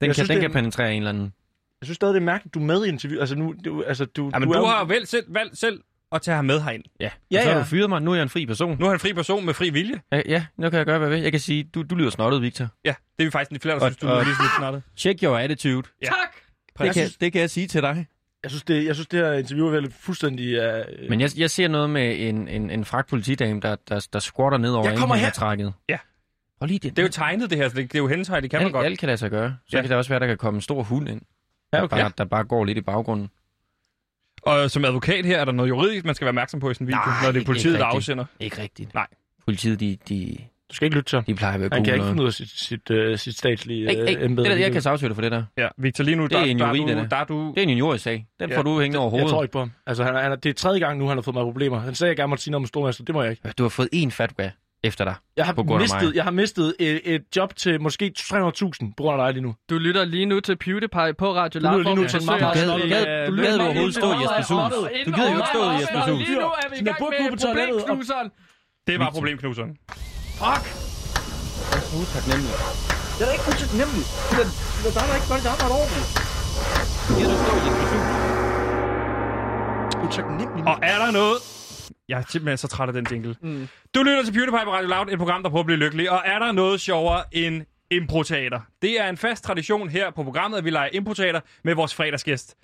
Speaker 4: Jeg
Speaker 3: kan,
Speaker 4: synes,
Speaker 3: den
Speaker 4: det-
Speaker 3: kan penetrere en eller anden.
Speaker 4: Jeg synes stadig, det er mærkeligt, du er med i interview. Altså, nu, du, altså, du,
Speaker 1: Jamen,
Speaker 4: du,
Speaker 1: du,
Speaker 4: er
Speaker 1: du
Speaker 4: jo-
Speaker 1: har vel selv, valgt selv at tage ham med herind.
Speaker 3: Ja,
Speaker 4: Ja,
Speaker 3: ja og så har
Speaker 4: ja.
Speaker 3: du fyret mig. Nu er jeg en fri person.
Speaker 1: Nu er han en fri person med fri vilje.
Speaker 3: Ja, ja nu kan jeg gøre, hvad jeg vil. Jeg kan sige, du, du lyder snottet, Victor.
Speaker 1: Ja, det er vi faktisk lidt flere, der
Speaker 3: Og-
Speaker 1: synes, du
Speaker 3: og-
Speaker 1: er lige sådan lidt snartet.
Speaker 3: Check your attitude.
Speaker 1: Ja.
Speaker 2: Tak!
Speaker 3: Det kan,
Speaker 4: synes-
Speaker 3: det kan jeg sige til dig.
Speaker 4: Jeg synes, det, jeg synes, det her interview er vel fuldstændig... Uh,
Speaker 3: Men jeg, jeg ser noget med en, en, en frak politidame, der, der, der squatter ned over
Speaker 4: Jeg kommer her.
Speaker 3: anhængertrækket.
Speaker 1: Ja.
Speaker 3: Og lige det.
Speaker 1: Det er jo tegnet, det her, så det, det er jo hentai, det kan man
Speaker 3: alt,
Speaker 1: godt.
Speaker 3: alt kan lade sig gøre. Så
Speaker 1: Ja.
Speaker 3: ja. kan der også være, der kan komme en stor hund ind,
Speaker 4: Ja,
Speaker 3: ja,
Speaker 4: okay.
Speaker 3: okay. der, bare, der bare går lidt i baggrunden.
Speaker 1: Og som advokat her, er der noget juridisk, man skal være opmærksom på i sådan en video,
Speaker 3: Nej,
Speaker 1: når det er
Speaker 3: ikke
Speaker 1: politiet, der
Speaker 3: rigtigt.
Speaker 1: afsender.
Speaker 3: Ikke rigtigt.
Speaker 1: Nej.
Speaker 3: Politiet, de, de,
Speaker 4: du skal ikke lytte til ham.
Speaker 3: de plejer at være
Speaker 4: Han
Speaker 3: gode.
Speaker 4: kan ikke
Speaker 3: og-
Speaker 4: finde ud af sit, sit, uh, sit statslige
Speaker 3: Ikke- ikke.
Speaker 4: uh, embede.
Speaker 3: Det der, jeg kan sagsøge dig for det der.
Speaker 1: Ja, Victor, lige nu,
Speaker 3: Det er
Speaker 1: der,
Speaker 3: en
Speaker 1: der, er
Speaker 3: jurid, det
Speaker 1: du,
Speaker 3: der.
Speaker 1: der er du...
Speaker 3: Det er en juriorsag. Den
Speaker 1: Ja,
Speaker 3: ja, får du hængende over
Speaker 4: jeg
Speaker 3: hovedet.
Speaker 4: tror ikke på ham. Altså, han, er- han, er- det er tredje gang nu, han har fået mig problemer. Han sagde, at jeg gerne måtte sige noget om stormester. Det må jeg ikke.
Speaker 3: Du har fået én fatwa efter dig.
Speaker 4: Jeg har,
Speaker 3: På grund af
Speaker 4: mistet,
Speaker 3: mig.
Speaker 4: jeg har mistet et, et job til måske 300.000 på grund af dig lige nu.
Speaker 2: Du lytter lige nu til PewDiePie på Radio
Speaker 4: lytter
Speaker 2: Loud,
Speaker 4: lige
Speaker 2: hvor
Speaker 4: nu
Speaker 2: vi
Speaker 4: til en
Speaker 2: forsøger at
Speaker 4: meget- Du
Speaker 2: slå
Speaker 4: gad-
Speaker 2: det,
Speaker 4: gad-
Speaker 2: øh,
Speaker 3: du
Speaker 2: løb-
Speaker 3: gad
Speaker 2: løb-
Speaker 3: overhovedet stå i
Speaker 2: løb-
Speaker 3: Jesper Suhls.
Speaker 2: løb-
Speaker 3: Du gider jo ikke stå i
Speaker 2: løb-
Speaker 3: Jesper
Speaker 2: løb-
Speaker 3: Suhls.
Speaker 2: Lige nu er vi i
Speaker 4: Smider
Speaker 2: gang
Speaker 4: bukbude
Speaker 2: med
Speaker 4: på toilettet og-
Speaker 2: problemknuseren.
Speaker 1: Det var problemknuseren.
Speaker 4: Det er da ikke utaknemmelig. Der er da ikke godt, der arbejder ordentligt. Utaknemmelig.
Speaker 1: Og er der noget... Jeg er simpelthen så træt af den jingle. Mm. Du lytter til PewDiePie på Radio Loud, et program, der prøver at blive lykkelig. Og er der noget sjovere end improteater? Det er en fast tradition her på programmet, at vi leger improteater med vores fredagsgæst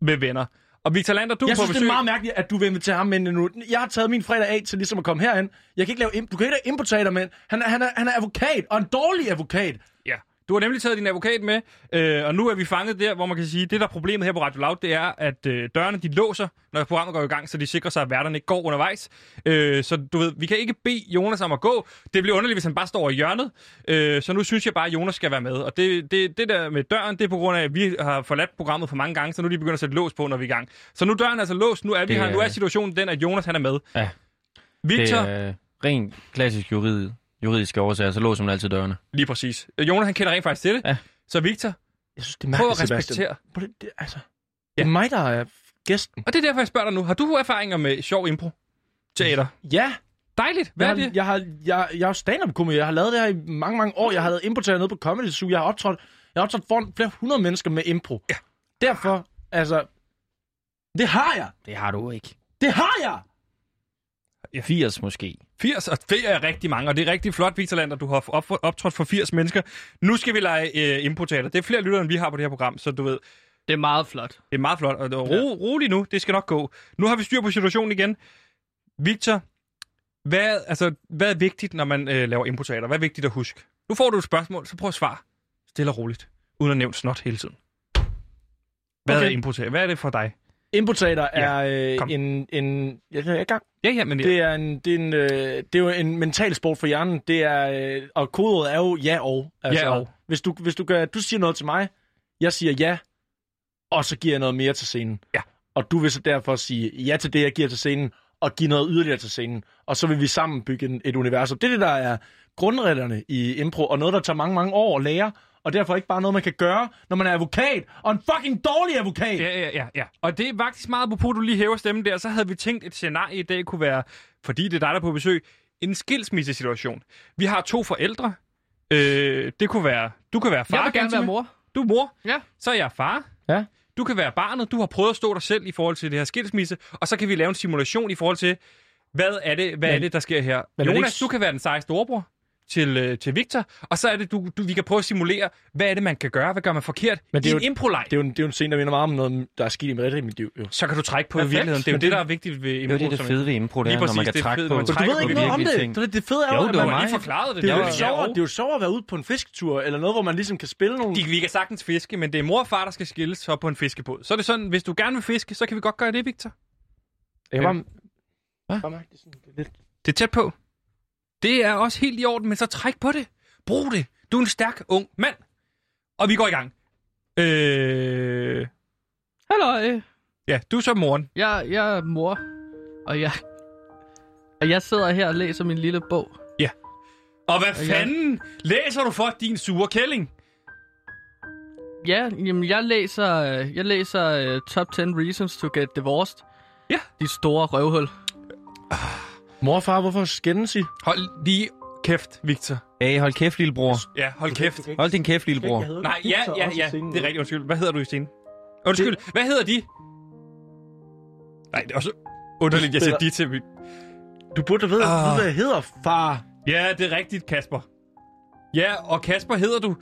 Speaker 1: med venner. Og Victor Lander, du
Speaker 4: Jeg
Speaker 1: er på
Speaker 4: synes, det
Speaker 1: besøg.
Speaker 4: er meget mærkeligt, at du vil invitere ham ind nu. Jeg har taget min fredag af til ligesom at komme herhen. Jeg kan ikke lave, im- du kan ikke lave importater, men han er, han, er, han er advokat, og en dårlig advokat.
Speaker 1: Ja. Du har nemlig taget din advokat med, øh, og nu er vi fanget der, hvor man kan sige, det der er problemet her på Radio Loud, det er, at øh, dørene de låser, når programmet går i gang, så de sikrer sig, at værterne ikke går undervejs. Øh, så du ved, vi kan ikke bede Jonas om at gå. Det bliver underligt, hvis han bare står over i hjørnet. Øh, så nu synes jeg bare, at Jonas skal være med. Og det, det, det der med døren, det er på grund af, at vi har forladt programmet for mange gange, så nu er de begyndt at sætte lås på, når vi er i gang. Så nu er døren altså låst, nu er, vi
Speaker 3: Det
Speaker 1: her,
Speaker 3: er-
Speaker 1: nu er situationen den, at Jonas han er med.
Speaker 3: Ja. Det
Speaker 1: Victor,
Speaker 3: er øh, rent klassisk jurid, juridiske årsager, så låser man altid dørene.
Speaker 1: lige præcis. Øh, Jonas han kender rent faktisk til det.
Speaker 3: Ja.
Speaker 1: Så Victor,
Speaker 4: Jeg synes, det er
Speaker 1: prøv
Speaker 4: mærkeligt,
Speaker 1: at respektere.
Speaker 4: Prøv Det, det, altså, det er mig, der er gæsten.
Speaker 1: Og det er derfor, jeg spørger dig nu. Har du erfaringer med sjov impro? Teater.
Speaker 4: Ja,
Speaker 1: Dejligt. Hvad er
Speaker 4: jeg,
Speaker 1: det?
Speaker 4: Jeg, har, jeg, jeg er jo stand-up komiker. Jeg har lavet det her i mange, mange år. Jeg har lavet importater nede på Comedy Zoo. Jeg har optrådt, jeg har optrådt foran flere hundrede mennesker med impro. Ja. Derfor, altså... Det har jeg!
Speaker 3: Det har du ikke.
Speaker 4: Det har jeg!
Speaker 3: 80 måske.
Speaker 1: 80, og det er rigtig mange, og det er rigtig flot, Victor Lander, du har op, optrådt for 80 mennesker. Nu skal vi lege øh, improteater. Det er flere lyttere, end vi har på det her program, så du ved,
Speaker 2: Det er meget flot.
Speaker 1: det er meget flot. Og og ro, rolig nu, det skal nok gå. Nu har vi styr på situationen igen. Victor, hvad, altså, hvad er vigtigt, når man øh, laver improteater? Hvad er vigtigt at huske? Nu får du et spørgsmål, så prøv at svare. Stille og roligt, uden at nævne snot hele tiden. Hvad
Speaker 4: Okay.
Speaker 1: okay. er improteater? Hvad er det for dig?
Speaker 4: Importater
Speaker 1: Ja,
Speaker 4: er øh,
Speaker 1: kom.
Speaker 4: en, en... Jeg jeg er i gang.
Speaker 1: Ja, ja, men
Speaker 4: Det er, en, det, er en, øh, det er jo en mental sport for hjernen. Det er, øh, og kodet er jo ja og. altså.
Speaker 1: Ja og.
Speaker 4: Hvis du, hvis du, gør, du siger noget til mig, jeg siger ja, og så giver jeg noget mere til scenen.
Speaker 1: Ja.
Speaker 4: Og du vil så derfor sige ja til det, jeg giver til scenen, og give noget yderligere til scenen. Og så vil vi sammen bygge en, et univers. Og det er det, der er grundreglerne i impro, og noget, der tager mange, mange år at lære. Og derfor ikke bare noget, man kan gøre, når man er advokat, og en fucking dårlig advokat.
Speaker 1: Ja, ja, ja, ja. Og det er faktisk meget, apropos du lige hæver stemmen der, så havde vi tænkt, et scenarie i dag kunne være, fordi det er dig, der er på besøg, en skilsmissesituation. Vi har to forældre, Øh, det kunne være, du kan være far.
Speaker 2: Jeg vil gerne være
Speaker 1: Gantemir.
Speaker 2: mor.
Speaker 1: Du er mor.
Speaker 2: Ja.
Speaker 1: Så er jeg far.
Speaker 3: Ja.
Speaker 1: Du kan være barnet. Du har prøvet at stå dig selv i forhold til det her skilsmisse. Og så kan vi lave en simulation i forhold til, hvad er det, hvad
Speaker 4: Men-
Speaker 1: er det der sker her?
Speaker 4: men er det
Speaker 1: Jonas,
Speaker 4: ikke-
Speaker 1: du kan være den seje storebror til, øh, til Victor. Og så er det, du, du, vi kan prøve at simulere, hvad er det, man kan gøre? Hvad gør man forkert?
Speaker 4: Men det
Speaker 1: I
Speaker 4: er jo-
Speaker 1: en improleg.
Speaker 4: Det er, jo en, det er jo en scene, der minder meget om noget, der er sket i mit rigtige mit liv. Jo.
Speaker 1: Så kan du trække på
Speaker 4: Perfekt.
Speaker 1: virkeligheden. Det er jo
Speaker 4: Men
Speaker 1: det,
Speaker 4: det-
Speaker 1: der er vigtigt ved impro.
Speaker 3: det er det
Speaker 1: som-
Speaker 3: fede ved impro, det
Speaker 1: Lige
Speaker 3: er, når
Speaker 1: præcis,
Speaker 3: man kan
Speaker 1: det er
Speaker 3: trække
Speaker 1: fedt,
Speaker 3: på-
Speaker 1: når man
Speaker 3: Du
Speaker 4: Du
Speaker 1: trækker
Speaker 4: ved
Speaker 1: på
Speaker 4: ikke noget om
Speaker 1: virkeligheden.
Speaker 4: det. det. Det fede er
Speaker 1: Jo, det
Speaker 4: jo, at
Speaker 1: var
Speaker 4: man
Speaker 1: mig.
Speaker 4: lige
Speaker 1: forklarede det.
Speaker 4: Det er
Speaker 1: Det
Speaker 4: jo
Speaker 1: var
Speaker 4: lidt sjovere.
Speaker 1: jeg.
Speaker 4: Det er jo sjovere at være ude på en fisketur, eller noget, hvor man ligesom kan spille nogle...
Speaker 1: De, vi kan sagtens fiske, men det er mor og far, der skal skilles så på en fiskebåd. Så er det sådan, hvis du gerne vil fiske, så kan vi godt gøre det, Victor.
Speaker 4: Jeg kan
Speaker 3: bare,
Speaker 4: bare mærke, det er sådan det er lidt...
Speaker 1: Det er tæt på. Det er også helt i orden, men så træk på det. Brug det. Du er en stærk, ung mand. Og vi går i gang. Øh...
Speaker 2: Halløj.
Speaker 1: Ja, du er så moren.
Speaker 2: Jeg, jeg er mor, og jeg, og jeg sidder her og læser min lille bog.
Speaker 1: Og hvad
Speaker 2: Og jeg-
Speaker 1: fanden læser du for, din sure kælling?
Speaker 2: Ja, jamen jeg læser, øh, jeg læser uh, Top 10 Reasons to Get Divorced.
Speaker 1: Ja.
Speaker 2: De store røvhul.
Speaker 4: Mor og far, hvorfor skændes I?
Speaker 1: Hold lige kæft, Victor.
Speaker 3: Hey, hold kæft, lillebror.
Speaker 1: Ja, hold kæft.
Speaker 3: Hold din kæft, lillebror.
Speaker 1: Nej, ja, ja, ja. Det er rigtigt. Undskyld. Hvad hedder du i scenen? Undskyld. Hvad hedder de? Nej, det er også underligt, jeg siger de til mit-
Speaker 4: Du burde da vide,
Speaker 1: Ah.
Speaker 4: uh. hvad jeg hedder, far.
Speaker 1: Ja, det er rigtigt, Kasper. Ja, og Kasper hedder du.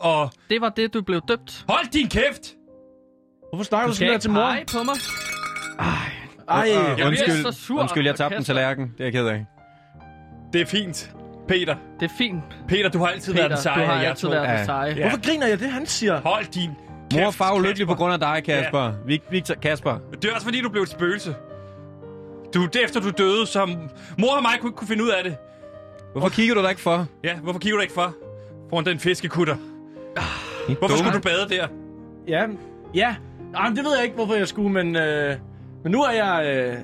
Speaker 1: Og
Speaker 2: Det var det, du blev døbt.
Speaker 1: hold din kæft!
Speaker 4: Hvorfor snakker du,
Speaker 2: skal
Speaker 4: sådan der
Speaker 2: ikke
Speaker 4: til mor?
Speaker 2: pege på mig.
Speaker 4: Ej,
Speaker 1: Jeg
Speaker 3: Undskyld,
Speaker 2: bliver så sur,
Speaker 3: undskyld, jeg tabte en
Speaker 2: Kasper.
Speaker 3: tallerken. Det er jeg ked af.
Speaker 1: Det er fint. Peter,
Speaker 2: Det er fint,
Speaker 1: Peter, du har altid været
Speaker 2: Peter.
Speaker 1: den seje
Speaker 2: du har
Speaker 1: af jer
Speaker 2: altid
Speaker 1: to.
Speaker 2: været
Speaker 3: Ja.
Speaker 2: den seje.
Speaker 1: Ja.
Speaker 4: hvorfor griner jeg det, han siger?
Speaker 1: Hold din kæft,
Speaker 3: Mor og far er ulykkelig på
Speaker 1: Kasper.
Speaker 3: grund af dig, Kasper. Ja. Victor, Kasper.
Speaker 1: Det er også fordi, du blev et spøgelse. Du, det er efter du døde, som mor og mig kunne ikke kunne finde ud af det.
Speaker 3: Hvorfor kigger du dig ikke for?
Speaker 1: Ja, hvorfor kigger du ikke for? Foran den fiskekutter. Hvorfor
Speaker 3: dumme.
Speaker 1: skulle du bade der?
Speaker 4: Ja, ja. Jamen, det ved jeg ikke, hvorfor jeg skulle, men... Øh, men nu er jeg... Øh,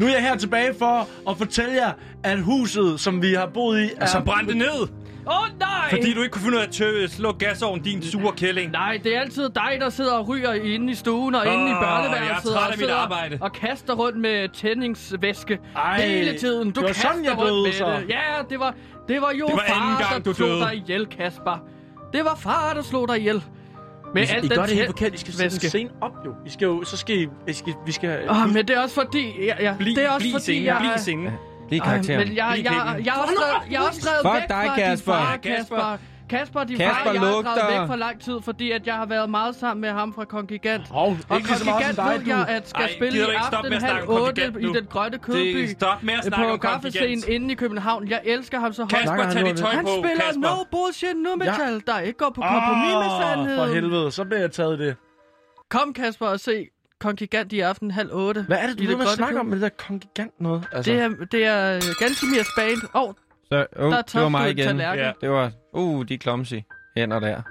Speaker 4: nu er jeg her tilbage for at fortælle jer, at huset, som vi har boet i, er...
Speaker 1: Som brændte ned,
Speaker 2: Åh oh, nej!
Speaker 1: fordi du ikke kunne finde ud af at tø- slå gasovnen, din sure kælling.
Speaker 2: Nej, det er altid dig, der sidder og ryger inde i stuen og inde i
Speaker 1: Åh,
Speaker 2: børneværelset.
Speaker 1: jeg er træt af
Speaker 2: og
Speaker 1: mit
Speaker 2: sidder
Speaker 1: arbejde.
Speaker 2: Og kaster rundt med tændingsvæske
Speaker 4: Ej,
Speaker 2: hele tiden. Du
Speaker 4: det var
Speaker 2: kaster
Speaker 4: sådan, jeg
Speaker 2: rundt
Speaker 4: døde
Speaker 2: med
Speaker 4: så.
Speaker 2: det. Ja, det var, det var jo
Speaker 1: Det var anden
Speaker 2: far,
Speaker 1: gang,
Speaker 2: der
Speaker 1: du
Speaker 2: slog
Speaker 1: døde.
Speaker 2: dig ihjel, Kasper. Det var far, der slog dig ihjel. Med
Speaker 4: I
Speaker 2: alt
Speaker 4: gør
Speaker 2: den
Speaker 4: det helt forkert. I skal sætte en
Speaker 2: tændvæske.
Speaker 4: scene op, jo. I skal jo... Så skal I... I skal, vi skal...
Speaker 2: Åh, men det er også fordi... Ja, ja.
Speaker 1: Bliv,
Speaker 2: det er også
Speaker 1: bliv
Speaker 2: fordi,
Speaker 1: scenen,
Speaker 2: jeg...
Speaker 1: bliv scenen.
Speaker 3: Lige
Speaker 2: Ej,
Speaker 3: karakter.
Speaker 2: men jeg,
Speaker 1: Bliv
Speaker 2: jeg,
Speaker 1: pikken.
Speaker 2: jeg, er også drevet- jeg er også drevet
Speaker 3: Fuck
Speaker 2: væk
Speaker 3: dig,
Speaker 2: fra din
Speaker 3: Kasper.
Speaker 2: far,
Speaker 1: Ja, Kasper.
Speaker 2: Kasper. Kasper, din
Speaker 3: Kasper,
Speaker 2: far, jeg er
Speaker 3: luk
Speaker 2: drevet
Speaker 3: dig.
Speaker 2: væk for lang tid, fordi at jeg har været meget sammen med ham fra Kongigant.
Speaker 4: Hov,
Speaker 2: Og
Speaker 4: ikke lige så meget som
Speaker 2: Kongigant
Speaker 4: dig,
Speaker 2: ved
Speaker 4: du.
Speaker 2: jeg, at skal
Speaker 1: Ej,
Speaker 2: spille
Speaker 1: gider
Speaker 2: i
Speaker 1: du ikke stoppe
Speaker 2: aften
Speaker 1: med at
Speaker 2: halv
Speaker 1: snakke om
Speaker 2: otte
Speaker 1: Kongigant
Speaker 2: i
Speaker 1: nu?
Speaker 2: den grønne
Speaker 1: Det
Speaker 2: kødby.
Speaker 1: er stop med at snakke
Speaker 2: På
Speaker 1: om
Speaker 2: kaffescenen
Speaker 1: konfidens.
Speaker 2: inde i København. Jeg elsker ham så højt.
Speaker 1: Kasper, tag dit tøj
Speaker 2: Han
Speaker 1: på,
Speaker 2: spiller
Speaker 1: Kasper.
Speaker 2: no bullshit nu metal, der ikke går på kompromis med sandheden.
Speaker 4: For helvede, så bliver jeg taget det.
Speaker 2: Kom Kasper og se Kongigant i aften halv otte.
Speaker 4: Hvad er det, du
Speaker 2: i
Speaker 4: ved med at
Speaker 2: grønne
Speaker 4: snakke om
Speaker 2: køkken.
Speaker 4: med det der kongigant noget? Altså,
Speaker 2: Det er, det er Gansimirs band. Åh, oh,
Speaker 3: Så, oh,
Speaker 2: der
Speaker 3: det var
Speaker 2: tabte du
Speaker 3: mig
Speaker 2: en
Speaker 3: igen.
Speaker 2: tallerken.
Speaker 1: Ja.
Speaker 3: Det var, uh, de er clumsy hænder der.
Speaker 1: Det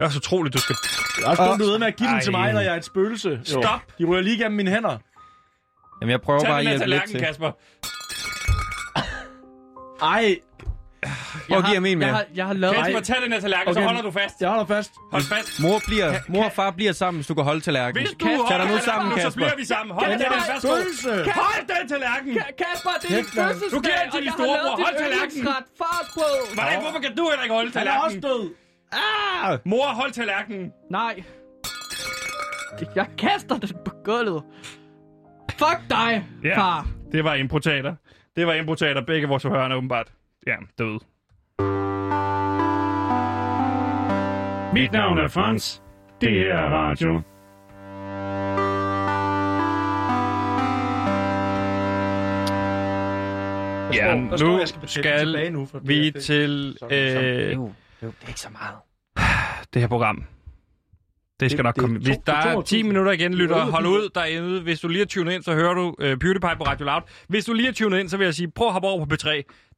Speaker 1: er så utroligt, du skal...
Speaker 4: det er også dumt, du ved med at give den til
Speaker 1: Ej.
Speaker 4: mig, når jeg er et spøgelse. Jo.
Speaker 1: Stop!
Speaker 4: De ryger lige gennem mine hænder.
Speaker 3: Jamen, jeg prøver bare
Speaker 1: Tag
Speaker 3: at
Speaker 1: den her
Speaker 3: hjælpe lidt
Speaker 1: tallerken,
Speaker 3: til.
Speaker 1: Kasper.
Speaker 4: Ej,
Speaker 3: Prøv at
Speaker 2: har-
Speaker 3: give ham en
Speaker 2: jeg
Speaker 3: mere.
Speaker 2: har, jeg har lavet...
Speaker 1: Kasper, tag den her tallerken, så
Speaker 4: Okay.
Speaker 1: holder du fast.
Speaker 4: jeg holder fast.
Speaker 1: Hold fast.
Speaker 3: Mor, bliver, mor og far bliver sammen, hvis du kan holde tallerken.
Speaker 1: Hvis du
Speaker 2: Kasper,
Speaker 1: holder
Speaker 3: tag dig nu
Speaker 1: tallerkenen,
Speaker 3: sammen,
Speaker 1: så
Speaker 3: Kasper.
Speaker 1: bliver vi sammen. Hold den
Speaker 4: Den
Speaker 1: her,
Speaker 4: er
Speaker 1: værsgo.
Speaker 4: spøgelse.
Speaker 1: Hold den tallerken.
Speaker 2: Ka- Kasper, det er din
Speaker 4: Kæft, mand.
Speaker 2: fødselsdag,
Speaker 1: Du giver den til
Speaker 2: og
Speaker 1: de
Speaker 2: jeg har
Speaker 1: store
Speaker 2: lavet
Speaker 1: bror.
Speaker 2: dit
Speaker 1: Hold tallerkenen.
Speaker 2: yndlingsret, Fartbrød.
Speaker 1: Hvordan, hvorfor kan du heller ikke holde
Speaker 4: Han er også
Speaker 1: tallerkenen?
Speaker 4: død.
Speaker 1: Mor, hold tallerkenen.
Speaker 2: Nej. Jeg kaster den på gulvet. Fuck dig,
Speaker 1: Ja.
Speaker 2: far.
Speaker 1: Det var improtater. Det var improtater. Begge vores hørende åbenbart. Ja, døde.
Speaker 12: Mit navn er Frans. Det her er radio.
Speaker 1: Ja,
Speaker 4: Der står,
Speaker 1: nu
Speaker 4: jeg skal betale den tilbage
Speaker 1: skal
Speaker 4: nu. For
Speaker 1: vi til øh,
Speaker 3: Det er ikke så meget.
Speaker 1: det her program. Det skal
Speaker 4: Det-
Speaker 1: nok
Speaker 4: det er
Speaker 1: komme.
Speaker 4: to-
Speaker 1: Hvis der
Speaker 4: det er
Speaker 1: er 10
Speaker 4: 22.
Speaker 1: minutter igen, lytter,
Speaker 4: Ude.
Speaker 1: hold ud derinde. Hvis du lige er tunet ind, så hører du øh, PewDiePie på Radio Loud. Hvis du lige er tunet ind, så vil jeg sige, prøv at hoppe over på P3.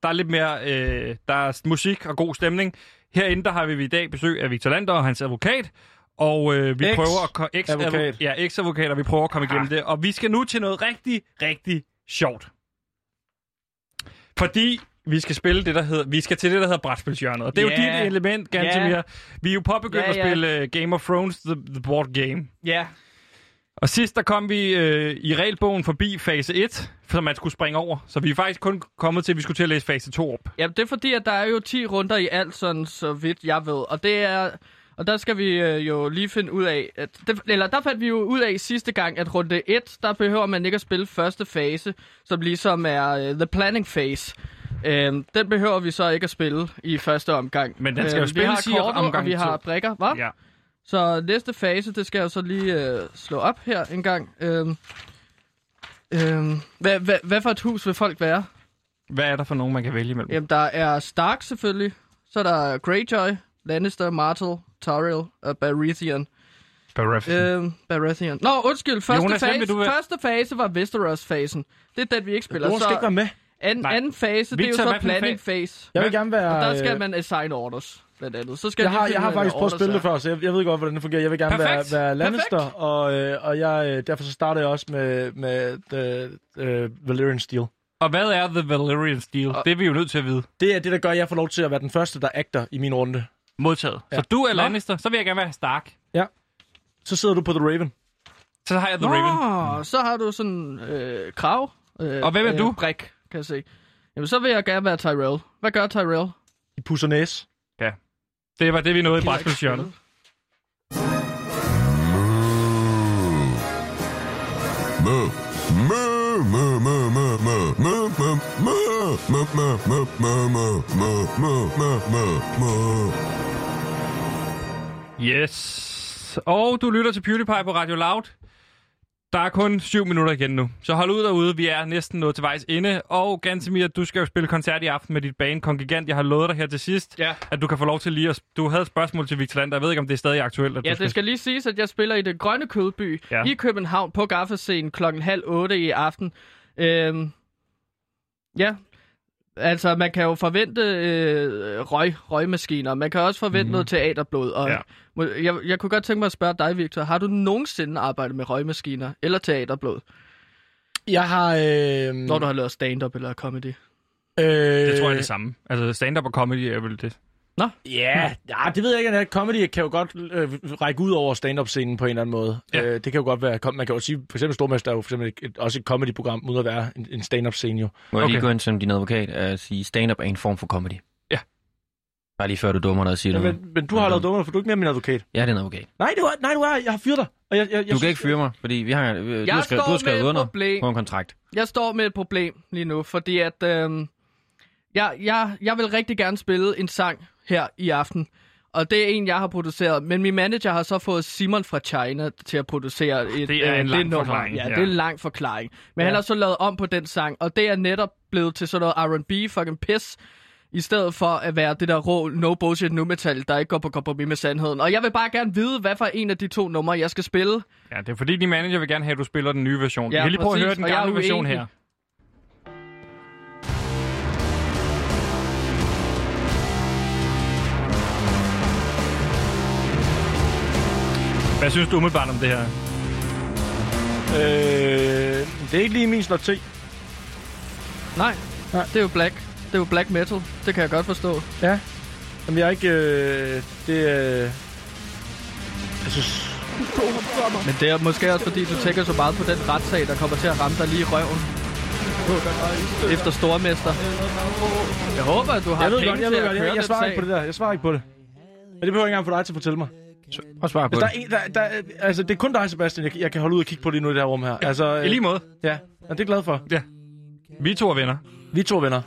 Speaker 1: Der er lidt mere, øh, der er musik og god stemning. Herinde, der har vi i dag besøg af Victor Lander og hans advokat. Og øh, vi
Speaker 4: Ex-
Speaker 1: prøver at... ko- ex-
Speaker 4: advokat.
Speaker 1: advo- Ja, ex-advokat, og vi prøver at
Speaker 4: Ah.
Speaker 1: komme igennem det. Og vi skal nu til noget rigtig, rigtig sjovt. Fordi vi skal spille det, der hedder, vi skal til det, der hedder brætspilshjørnet. Og det er
Speaker 2: Ja.
Speaker 1: jo dit element, Gantemir.
Speaker 2: Ja.
Speaker 1: Vi er jo påbegyndt
Speaker 2: Ja,
Speaker 1: at øh,
Speaker 2: ja.
Speaker 1: spille uh, Game of Thrones, the, the board game.
Speaker 2: Ja.
Speaker 1: Og sidst der kom vi øh, i regelbogen forbi fase 1, som man skulle springe over. Så vi er faktisk kun kommet til, at vi skulle til at læse fase 2 op.
Speaker 2: Ja, det er fordi, at der er jo 10 runder i alt, sådan så vidt jeg ved. Og det er... Og der skal vi øh, jo lige finde ud af, at det, eller der fandt vi jo ud af sidste gang, at runde 1, der behøver man ikke at spille første fase, som ligesom er øh, the planning phase. Øhm, den behøver vi så ikke at spille i første omgang. Øhm,
Speaker 1: Men den skal jo spilles i
Speaker 2: Vi har kortet,
Speaker 1: omgang
Speaker 2: og vi har
Speaker 1: to.
Speaker 2: brikker, hva?
Speaker 1: Ja.
Speaker 2: Så næste fase, det skal jeg så lige øh, slå op her en gang. Øhm, øhm, hvad, hvad, hvad for et hus vil folk være?
Speaker 1: Hvad er der for nogen, man kan vælge imellem?
Speaker 2: Jamen, der er Stark selvfølgelig. Så er der Greyjoy, Lannister, Martell, Tyrell og Baratheon.
Speaker 1: Baratheon.
Speaker 2: Øhm, Baratheon. Nå, undskyld. Første,
Speaker 1: Jonas,
Speaker 2: Jonas,
Speaker 1: hvem
Speaker 2: fase,
Speaker 1: vil du være?
Speaker 2: første fase var Westeros-fasen. Det er den, vi ikke spiller.
Speaker 4: Jonas skal ikke være med.
Speaker 2: An,
Speaker 4: Nej.
Speaker 2: anden fase, det er
Speaker 4: Victor,
Speaker 2: jo
Speaker 4: hvad
Speaker 2: så
Speaker 4: for en
Speaker 2: planning
Speaker 4: fa-
Speaker 2: phase.
Speaker 4: Jeg vil gerne være,
Speaker 2: Og der skal
Speaker 4: øh,
Speaker 2: man assign orders, blandt andet. Så skal
Speaker 4: Jeg
Speaker 2: vi
Speaker 4: har,
Speaker 2: finde
Speaker 4: jeg har
Speaker 2: ud af,
Speaker 4: faktisk
Speaker 2: hvad
Speaker 4: prøvet at spille det
Speaker 2: orders er.
Speaker 4: før, så jeg, jeg ved godt, hvordan det fungerer. Jeg vil gerne
Speaker 2: Perfekt.
Speaker 4: være, være
Speaker 2: Perfekt.
Speaker 4: Lannister, og, øh, og jeg, øh, derfor så starter jeg også med, med the, uh, Valyrian Steel.
Speaker 1: Og hvad er The Valyrian Steel? Det er vi jo nødt til at vide.
Speaker 4: Det er det, der gør, at jeg får lov til at være den første, der agter i min runde.
Speaker 1: Modtaget. Ja. Så du er Lannister, så vil jeg gerne være Stark.
Speaker 4: Ja. Så sidder du på The Raven.
Speaker 1: Så har jeg The
Speaker 2: Nå,
Speaker 1: Raven.
Speaker 2: så har du sådan øh, krav. Øh,
Speaker 1: Og hvem er
Speaker 2: øh,
Speaker 1: du?
Speaker 2: Brik, kan jeg se. Jamen, så vil jeg gerne være Tyrell. Hvad gør Tyrell?
Speaker 4: I pusser næs.
Speaker 1: Ja. Det var det, vi nåede i brætspilshjørnet.
Speaker 13: Mø. Mø, mø, mø, mø, mø, mø, mø, mø, mø, mø, mø, mø, mø, mø, mø, mø, mø, mø.
Speaker 1: Yes. Og du lytter til PewDiePie på Radio Loud. Der er kun syv minutter igen nu. Så hold ud derude, vi er næsten nået til vejs ende. Og Gansimir, du skal jo spille koncert i aften med dit band Kongigant. Jeg har lovet dig her til sidst,
Speaker 2: Ja.
Speaker 1: at du kan få lov til lige at... Du havde et spørgsmål til Victor Land, jeg ved ikke, om det er stadig aktuelt. At
Speaker 2: Ja,
Speaker 1: du
Speaker 2: det skal lige siges, at jeg spiller i det grønne kødby
Speaker 1: Ja.
Speaker 2: ja. i København på gaffescenen klokken halv otte i aften. Øhm, ja, altså man kan jo forvente øh, røg, røgmaskiner, man kan også forvente mm. noget teaterblod. Og
Speaker 1: Ja.
Speaker 2: må- jeg, jeg kunne godt tænke mig at spørge dig, Victor, har du nogensinde arbejdet med røgmaskiner eller teaterblod,
Speaker 4: Jeg har... Øh,
Speaker 2: når du har lavet stand-up eller comedy?
Speaker 1: Det
Speaker 4: Øh,
Speaker 1: tror jeg er det samme. Altså stand-up og comedy er vel det.
Speaker 2: Nå?
Speaker 4: Ja, ja, det ved jeg ikke. at Comedy kan jo godt øh, række ud over stand-up-scenen på en eller anden måde. Ja. Øh, det kan jo godt være... kom- Man kan jo sige, for eksempel Stormester er jo for eksempel et, et, også et comedy-program, uden at være en, en stand-up-scene jo.
Speaker 3: Må jeg okay. lige gå ind som din advokat og sige, stand-up er en form for comedy.
Speaker 1: Ja.
Speaker 3: Bare lige før du dummer dig og siger
Speaker 4: Ja,
Speaker 3: noget.
Speaker 4: men, men du har lavet dummere, for du er ikke mere min advokat.
Speaker 3: Jeg er din advokat.
Speaker 4: Nej, du er, nej, du er, jeg har fyret dig. Og jeg, jeg, jeg
Speaker 3: Du kan ikke fyre mig, fordi vi har, øh, du
Speaker 2: Jeg
Speaker 3: har skrevet, du
Speaker 2: står
Speaker 3: har skrevet
Speaker 2: med et
Speaker 3: under
Speaker 2: problem.
Speaker 3: på en kontrakt.
Speaker 2: Jeg står med et problem lige nu, fordi at øhm, jeg, jeg, jeg vil rigtig gerne spille en sang her i aften. Og det er en, jeg har produceret. Men min manager har så fået Simon fra China til at producere et,
Speaker 1: Ah,
Speaker 2: øh,
Speaker 1: Det er en lang
Speaker 2: nummer.
Speaker 1: forklaring,
Speaker 2: Ja,
Speaker 1: ja.
Speaker 2: det er en lang forklaring. Men
Speaker 1: Ja.
Speaker 2: ja. han har så lavet om på den sang, og det er netop blevet til sådan noget R&B fucking piss. I stedet for at være det der rå no bullshit nu metal, der ikke går på kompromis med sandheden. Og jeg vil bare gerne vide, hvad for en af de to numre, jeg skal spille.
Speaker 1: Ja, det er fordi, din manager vil gerne have, at du spiller den nye version. Ja,
Speaker 2: Ja,
Speaker 1: vi kan lige prøve at
Speaker 2: præcis,
Speaker 1: høre den
Speaker 2: og jeg er
Speaker 1: gamle version
Speaker 2: uenig.
Speaker 1: her. Hvad synes du umiddelbart om det her?
Speaker 4: Øh, det er ikke lige min slot te.
Speaker 2: Nej, Nej, det er jo black. Det er jo black metal. Det kan jeg godt forstå.
Speaker 4: Ja. Jamen, jeg er ikke... Øh, det øh, Jeg synes...
Speaker 2: Men det er måske også fordi, du tænker så meget på den retssag, der kommer til at ramme dig lige i røven. Efter stormester. Jeg håber, at du har
Speaker 4: jeg ved
Speaker 2: penge
Speaker 4: godt,
Speaker 2: til
Speaker 4: jeg ved
Speaker 2: at
Speaker 4: godt, jeg,
Speaker 2: køre
Speaker 4: jeg
Speaker 2: den
Speaker 4: svarer ikke
Speaker 2: sag.
Speaker 4: på det der. Jeg svarer ikke på det. Men det behøver jeg ikke engang få dig til at fortælle mig.
Speaker 3: Prøv svare
Speaker 4: Hvis der er en, der, der, altså, det er kun dig, Sebastian, jeg, jeg kan holde ud og kigge på lige nu i det her rum her. Altså, øh,
Speaker 1: I lige måde.
Speaker 4: Ja, og det er jeg glad for.
Speaker 1: Ja. Vi to er venner.
Speaker 4: Vi to venner.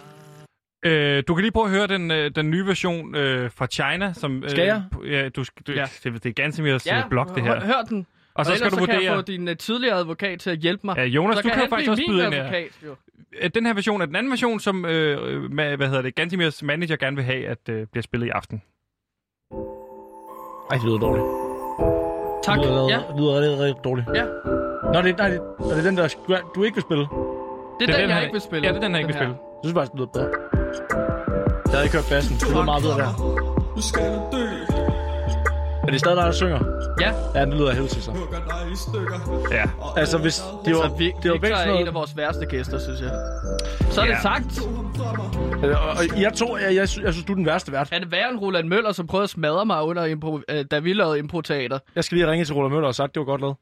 Speaker 1: Øh, du kan lige prøve at høre den, øh, den nye version øh, fra China. Som, øh,
Speaker 2: Skal jeg?
Speaker 1: Ja, du, skal- du, ja. Det, det er Gansimirs ja, blog, det her.
Speaker 2: hør- Hør den.
Speaker 1: Og så skal
Speaker 2: ellers
Speaker 1: du
Speaker 2: kan jeg
Speaker 1: vurdere-
Speaker 2: få din uh, tidligere advokat til at hjælpe mig.
Speaker 1: Ja, Jonas,
Speaker 2: så
Speaker 1: du kan jo
Speaker 2: han
Speaker 1: faktisk
Speaker 2: blive
Speaker 1: også
Speaker 2: min
Speaker 1: byde ind her.
Speaker 2: advokat, jo.
Speaker 1: Øh, Den her version er den anden version, som øh, med, hvad hedder det, Gansimirs manager gerne vil have, at øh, bliver spillet i aften.
Speaker 4: Ej, det lyder dårligt.
Speaker 2: Tak.
Speaker 4: Det lyder,
Speaker 2: Ja.
Speaker 4: det lyder rigtig, rigtig dårligt.
Speaker 2: Ja.
Speaker 4: Nå, det, nej, det, er det den, der du, du ikke vil spille?
Speaker 2: Det er den, jeg ikke vil spille.
Speaker 1: Ja, det er den, jeg ikke vil spille.
Speaker 4: Jeg synes faktisk, det lyder bedre. Jeg havde ikke hørt bassen. Det lyder meget bedre der.
Speaker 14: Nu skal du dø.
Speaker 4: Er det stadig dig, der synger?
Speaker 2: Ja.
Speaker 4: Ja, det lyder helt til sig.
Speaker 14: Hugger dig i stykker.
Speaker 1: Ja.
Speaker 4: Altså, hvis det var,
Speaker 2: Altså, vi,
Speaker 4: det var væk
Speaker 2: Victor
Speaker 4: sådan
Speaker 2: er en
Speaker 4: noget...
Speaker 2: af vores værste gæster, synes jeg. Så er
Speaker 4: Ja.
Speaker 2: det sagt.
Speaker 4: Øh, Og, og jeg, tror, jeg, jeg, sy- jeg synes, du er den værste vært.
Speaker 2: Er det værre end Roland Møller, som prøvede at smadre mig, under impro, øh, da vi lavede improteater?
Speaker 4: Jeg skal lige ringe til Roland Møller og sagt, det var godt lavet.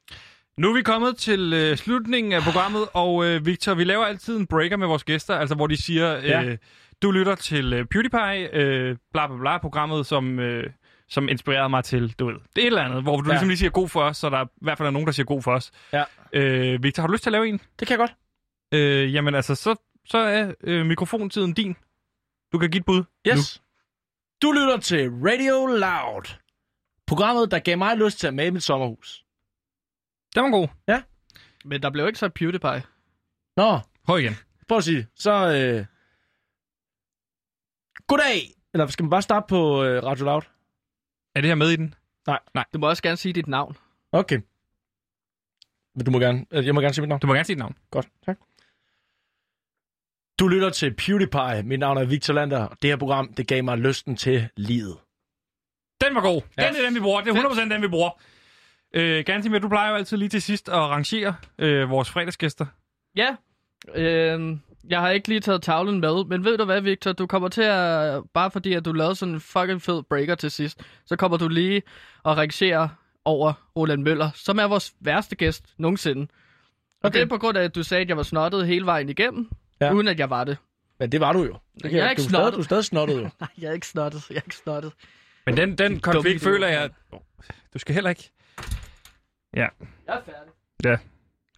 Speaker 1: Nu er vi kommet til øh, slutningen af programmet, og øh, Victor, vi laver altid en breaker med vores gæster, altså hvor de siger, øh,
Speaker 4: Ja.
Speaker 1: ja. du lytter til øh, PewDiePie, øh, bla bla bla, programmet, som, øh, som inspirerede mig til, du ved, det er et eller andet, hvor du
Speaker 4: Ja.
Speaker 1: ja. ligesom lige siger god for os, så der i hvert fald er nogen, der siger god for os.
Speaker 4: Ja.
Speaker 1: Øh, Victor, har du lyst til at lave en?
Speaker 4: Det kan jeg godt.
Speaker 1: Øh, jamen altså, så, så er øh, mikrofontiden din. Du kan give et bud.
Speaker 4: Yes. Du lytter til Radio Loud. Programmet, der gav mig lyst til at male mit sommerhus.
Speaker 1: Den var god.
Speaker 4: Ja.
Speaker 2: Men der blev ikke så PewDiePie.
Speaker 4: Nå.
Speaker 1: Prøv igen.
Speaker 4: Prøv at sige. det. Så, øh... Goddag! Eller skal man bare starte på øh, Radio Loud?
Speaker 1: Er det her med i den?
Speaker 4: Nej.
Speaker 1: Nej.
Speaker 2: Du må også gerne sige dit navn.
Speaker 4: Okay. Men du må gerne, øh, jeg må gerne sige mit navn.
Speaker 1: Du må gerne sige dit navn.
Speaker 4: Godt, tak. Du lytter til PewDiePie. Mit navn er Victor Lander, og det her program, det gav mig lysten til livet.
Speaker 1: Den var god. Den er den, vi bruger. Det er 100% den, vi bruger. Øh, Gantimer, du plejer jo altid lige til sidst at rangere øh, vores fredagsgæster.
Speaker 2: Ja, øh, jeg har ikke lige taget tavlen med, men ved du hvad, Victor? Du kommer til at, bare fordi at du lavede sådan en fucking fed breaker til sidst, så kommer du lige og rangerer over Roland Møller, som er vores værste gæst nogensinde. Og okay. det er på grund af, at du sagde, at jeg var snottet hele vejen igennem,
Speaker 4: Ja.
Speaker 2: ja. uden at jeg var det.
Speaker 4: Men det var du jo. Det
Speaker 2: Jeg er ikke
Speaker 4: du, stadig,
Speaker 2: snottet.
Speaker 4: du er stadig snottet jo.
Speaker 2: Nej, jeg er ikke snottet. Jeg er ikke snottet.
Speaker 1: Men den, den konflikt
Speaker 2: dumme
Speaker 1: føler jeg... Du skal heller ikke... Ja.
Speaker 2: Jeg er færdig.
Speaker 1: Ja. Du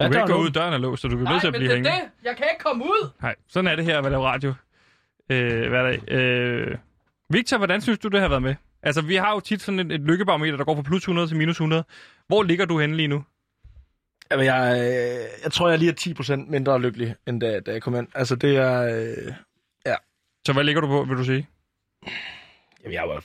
Speaker 2: Ja,
Speaker 1: kan
Speaker 2: der er
Speaker 1: ikke gå
Speaker 2: nogen.
Speaker 1: ud, døren er låst, så du bliver nødt til at
Speaker 2: men
Speaker 1: blive
Speaker 2: det
Speaker 1: hængende.
Speaker 2: er det. Jeg kan ikke komme ud.
Speaker 1: Nej, sådan er det her at lave radio øh, hver dag. Øh, Victor, hvordan synes du, det har været med? Altså, vi har jo tit sådan et, et lykkebarometer, der går fra plus 100 til minus 100. Hvor ligger du henne lige nu?
Speaker 4: Jamen, jeg, øh, jeg tror, jeg lige er 10% mindre lykkelig, end da, da jeg kom ind. Altså, det er... Øh, ja.
Speaker 1: Så hvad ligger du på, vil du sige?
Speaker 4: Jamen, jeg var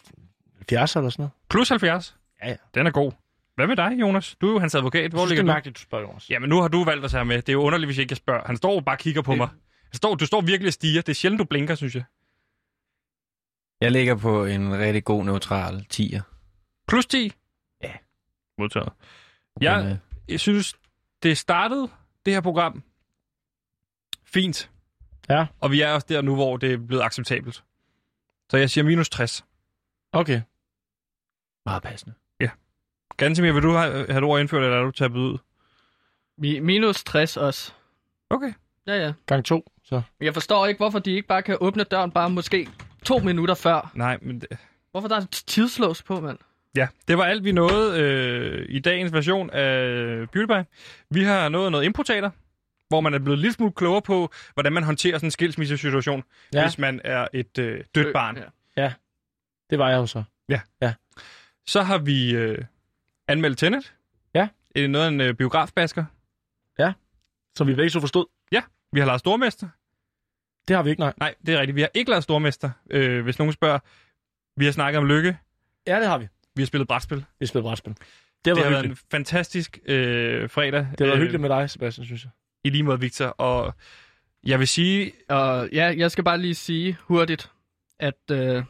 Speaker 4: 70 eller sådan noget.
Speaker 1: Plus 70?
Speaker 4: Ja, ja.
Speaker 1: Den er god. Hvad med dig, Jonas? Du er jo hans advokat. Hvor
Speaker 4: Jeg synes,
Speaker 1: ligger
Speaker 4: det er
Speaker 1: du?
Speaker 4: mærkeligt, du spørger, Jonas.
Speaker 1: Jamen, nu har du valgt at tage med. Det er jo underligt, hvis ikke jeg spørger. Han står jo bare og kigger på mig. Han står, du står virkelig og stiger. Det er sjældent, du blinker, synes jeg.
Speaker 3: Jeg ligger på en rigtig god neutral 10'er.
Speaker 1: Plus 10?
Speaker 3: Ja. øh,
Speaker 1: Modtaget. Jeg, jeg synes, det startede, det her program, fint.
Speaker 4: Ja.
Speaker 1: Og vi er også der nu, hvor det er blevet acceptabelt. Så jeg siger minus 60.
Speaker 4: Okay.
Speaker 3: Meget passende.
Speaker 1: Gansimir, vil du have, have et ord indført, eller er du tabet ud?
Speaker 2: Mi- minus 60 også.
Speaker 1: Okay.
Speaker 2: Ja, ja.
Speaker 4: Gang to, så.
Speaker 2: Jeg forstår ikke, hvorfor de ikke bare kan åbne døren bare måske to minutter før.
Speaker 1: Nej, men det,
Speaker 2: Hvorfor der er tidslås på, mand?
Speaker 1: Ja, det var alt, vi nåede øh, i dagens version af PewDiePie. Vi har nået noget importater, hvor man er blevet lidt smule klogere på, hvordan man håndterer sådan en skilsmissesituation,
Speaker 4: Ja.
Speaker 1: ja. hvis man er et øh, dødt barn. Ja.
Speaker 4: Ja, det var jeg jo så.
Speaker 1: Ja.
Speaker 4: ja.
Speaker 1: Så har vi øh, anmeldt Tenet.
Speaker 4: Ja.
Speaker 1: Øh, noget af en øh, biografbasker.
Speaker 4: Ja, som vi begge så forstod.
Speaker 1: Ja, vi har Lars Stormester.
Speaker 4: Det har vi ikke, nej.
Speaker 1: Nej, det er rigtigt. Vi har ikke Lars Stormester, øh, hvis nogen spørger. Vi har snakket om lykke.
Speaker 4: Ja, det har vi.
Speaker 1: Vi har spillet brætspil. Det
Speaker 4: Vi har spillet brætspil. Det har
Speaker 1: har, det har
Speaker 4: været
Speaker 1: været en
Speaker 4: hyggeligt.
Speaker 1: fantastisk øh, fredag.
Speaker 4: Det var øh, hyggeligt med dig, Sebastian, synes jeg.
Speaker 1: I lige måde, Victor. Og jeg vil sige,
Speaker 2: Og ja, jeg skal bare lige sige hurtigt, at øh,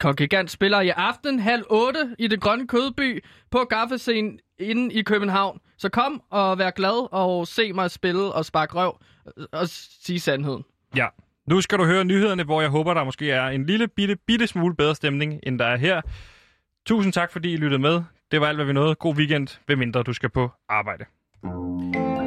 Speaker 2: Kong Gigant spiller i aften halv otte i det grønne kødby på gaffescenen inde i København. Så kom og vær glad og se mig spille og sparke røv og- og sige sandheden.
Speaker 1: Ja. Nu skal du høre nyhederne, hvor jeg håber, der måske er en lille bitte, bitte smule bedre stemning, end der er her. Tusind tak, fordi I lyttede med. Det var alt, hvad vi nåede. God weekend, ved mindre du skal på arbejde.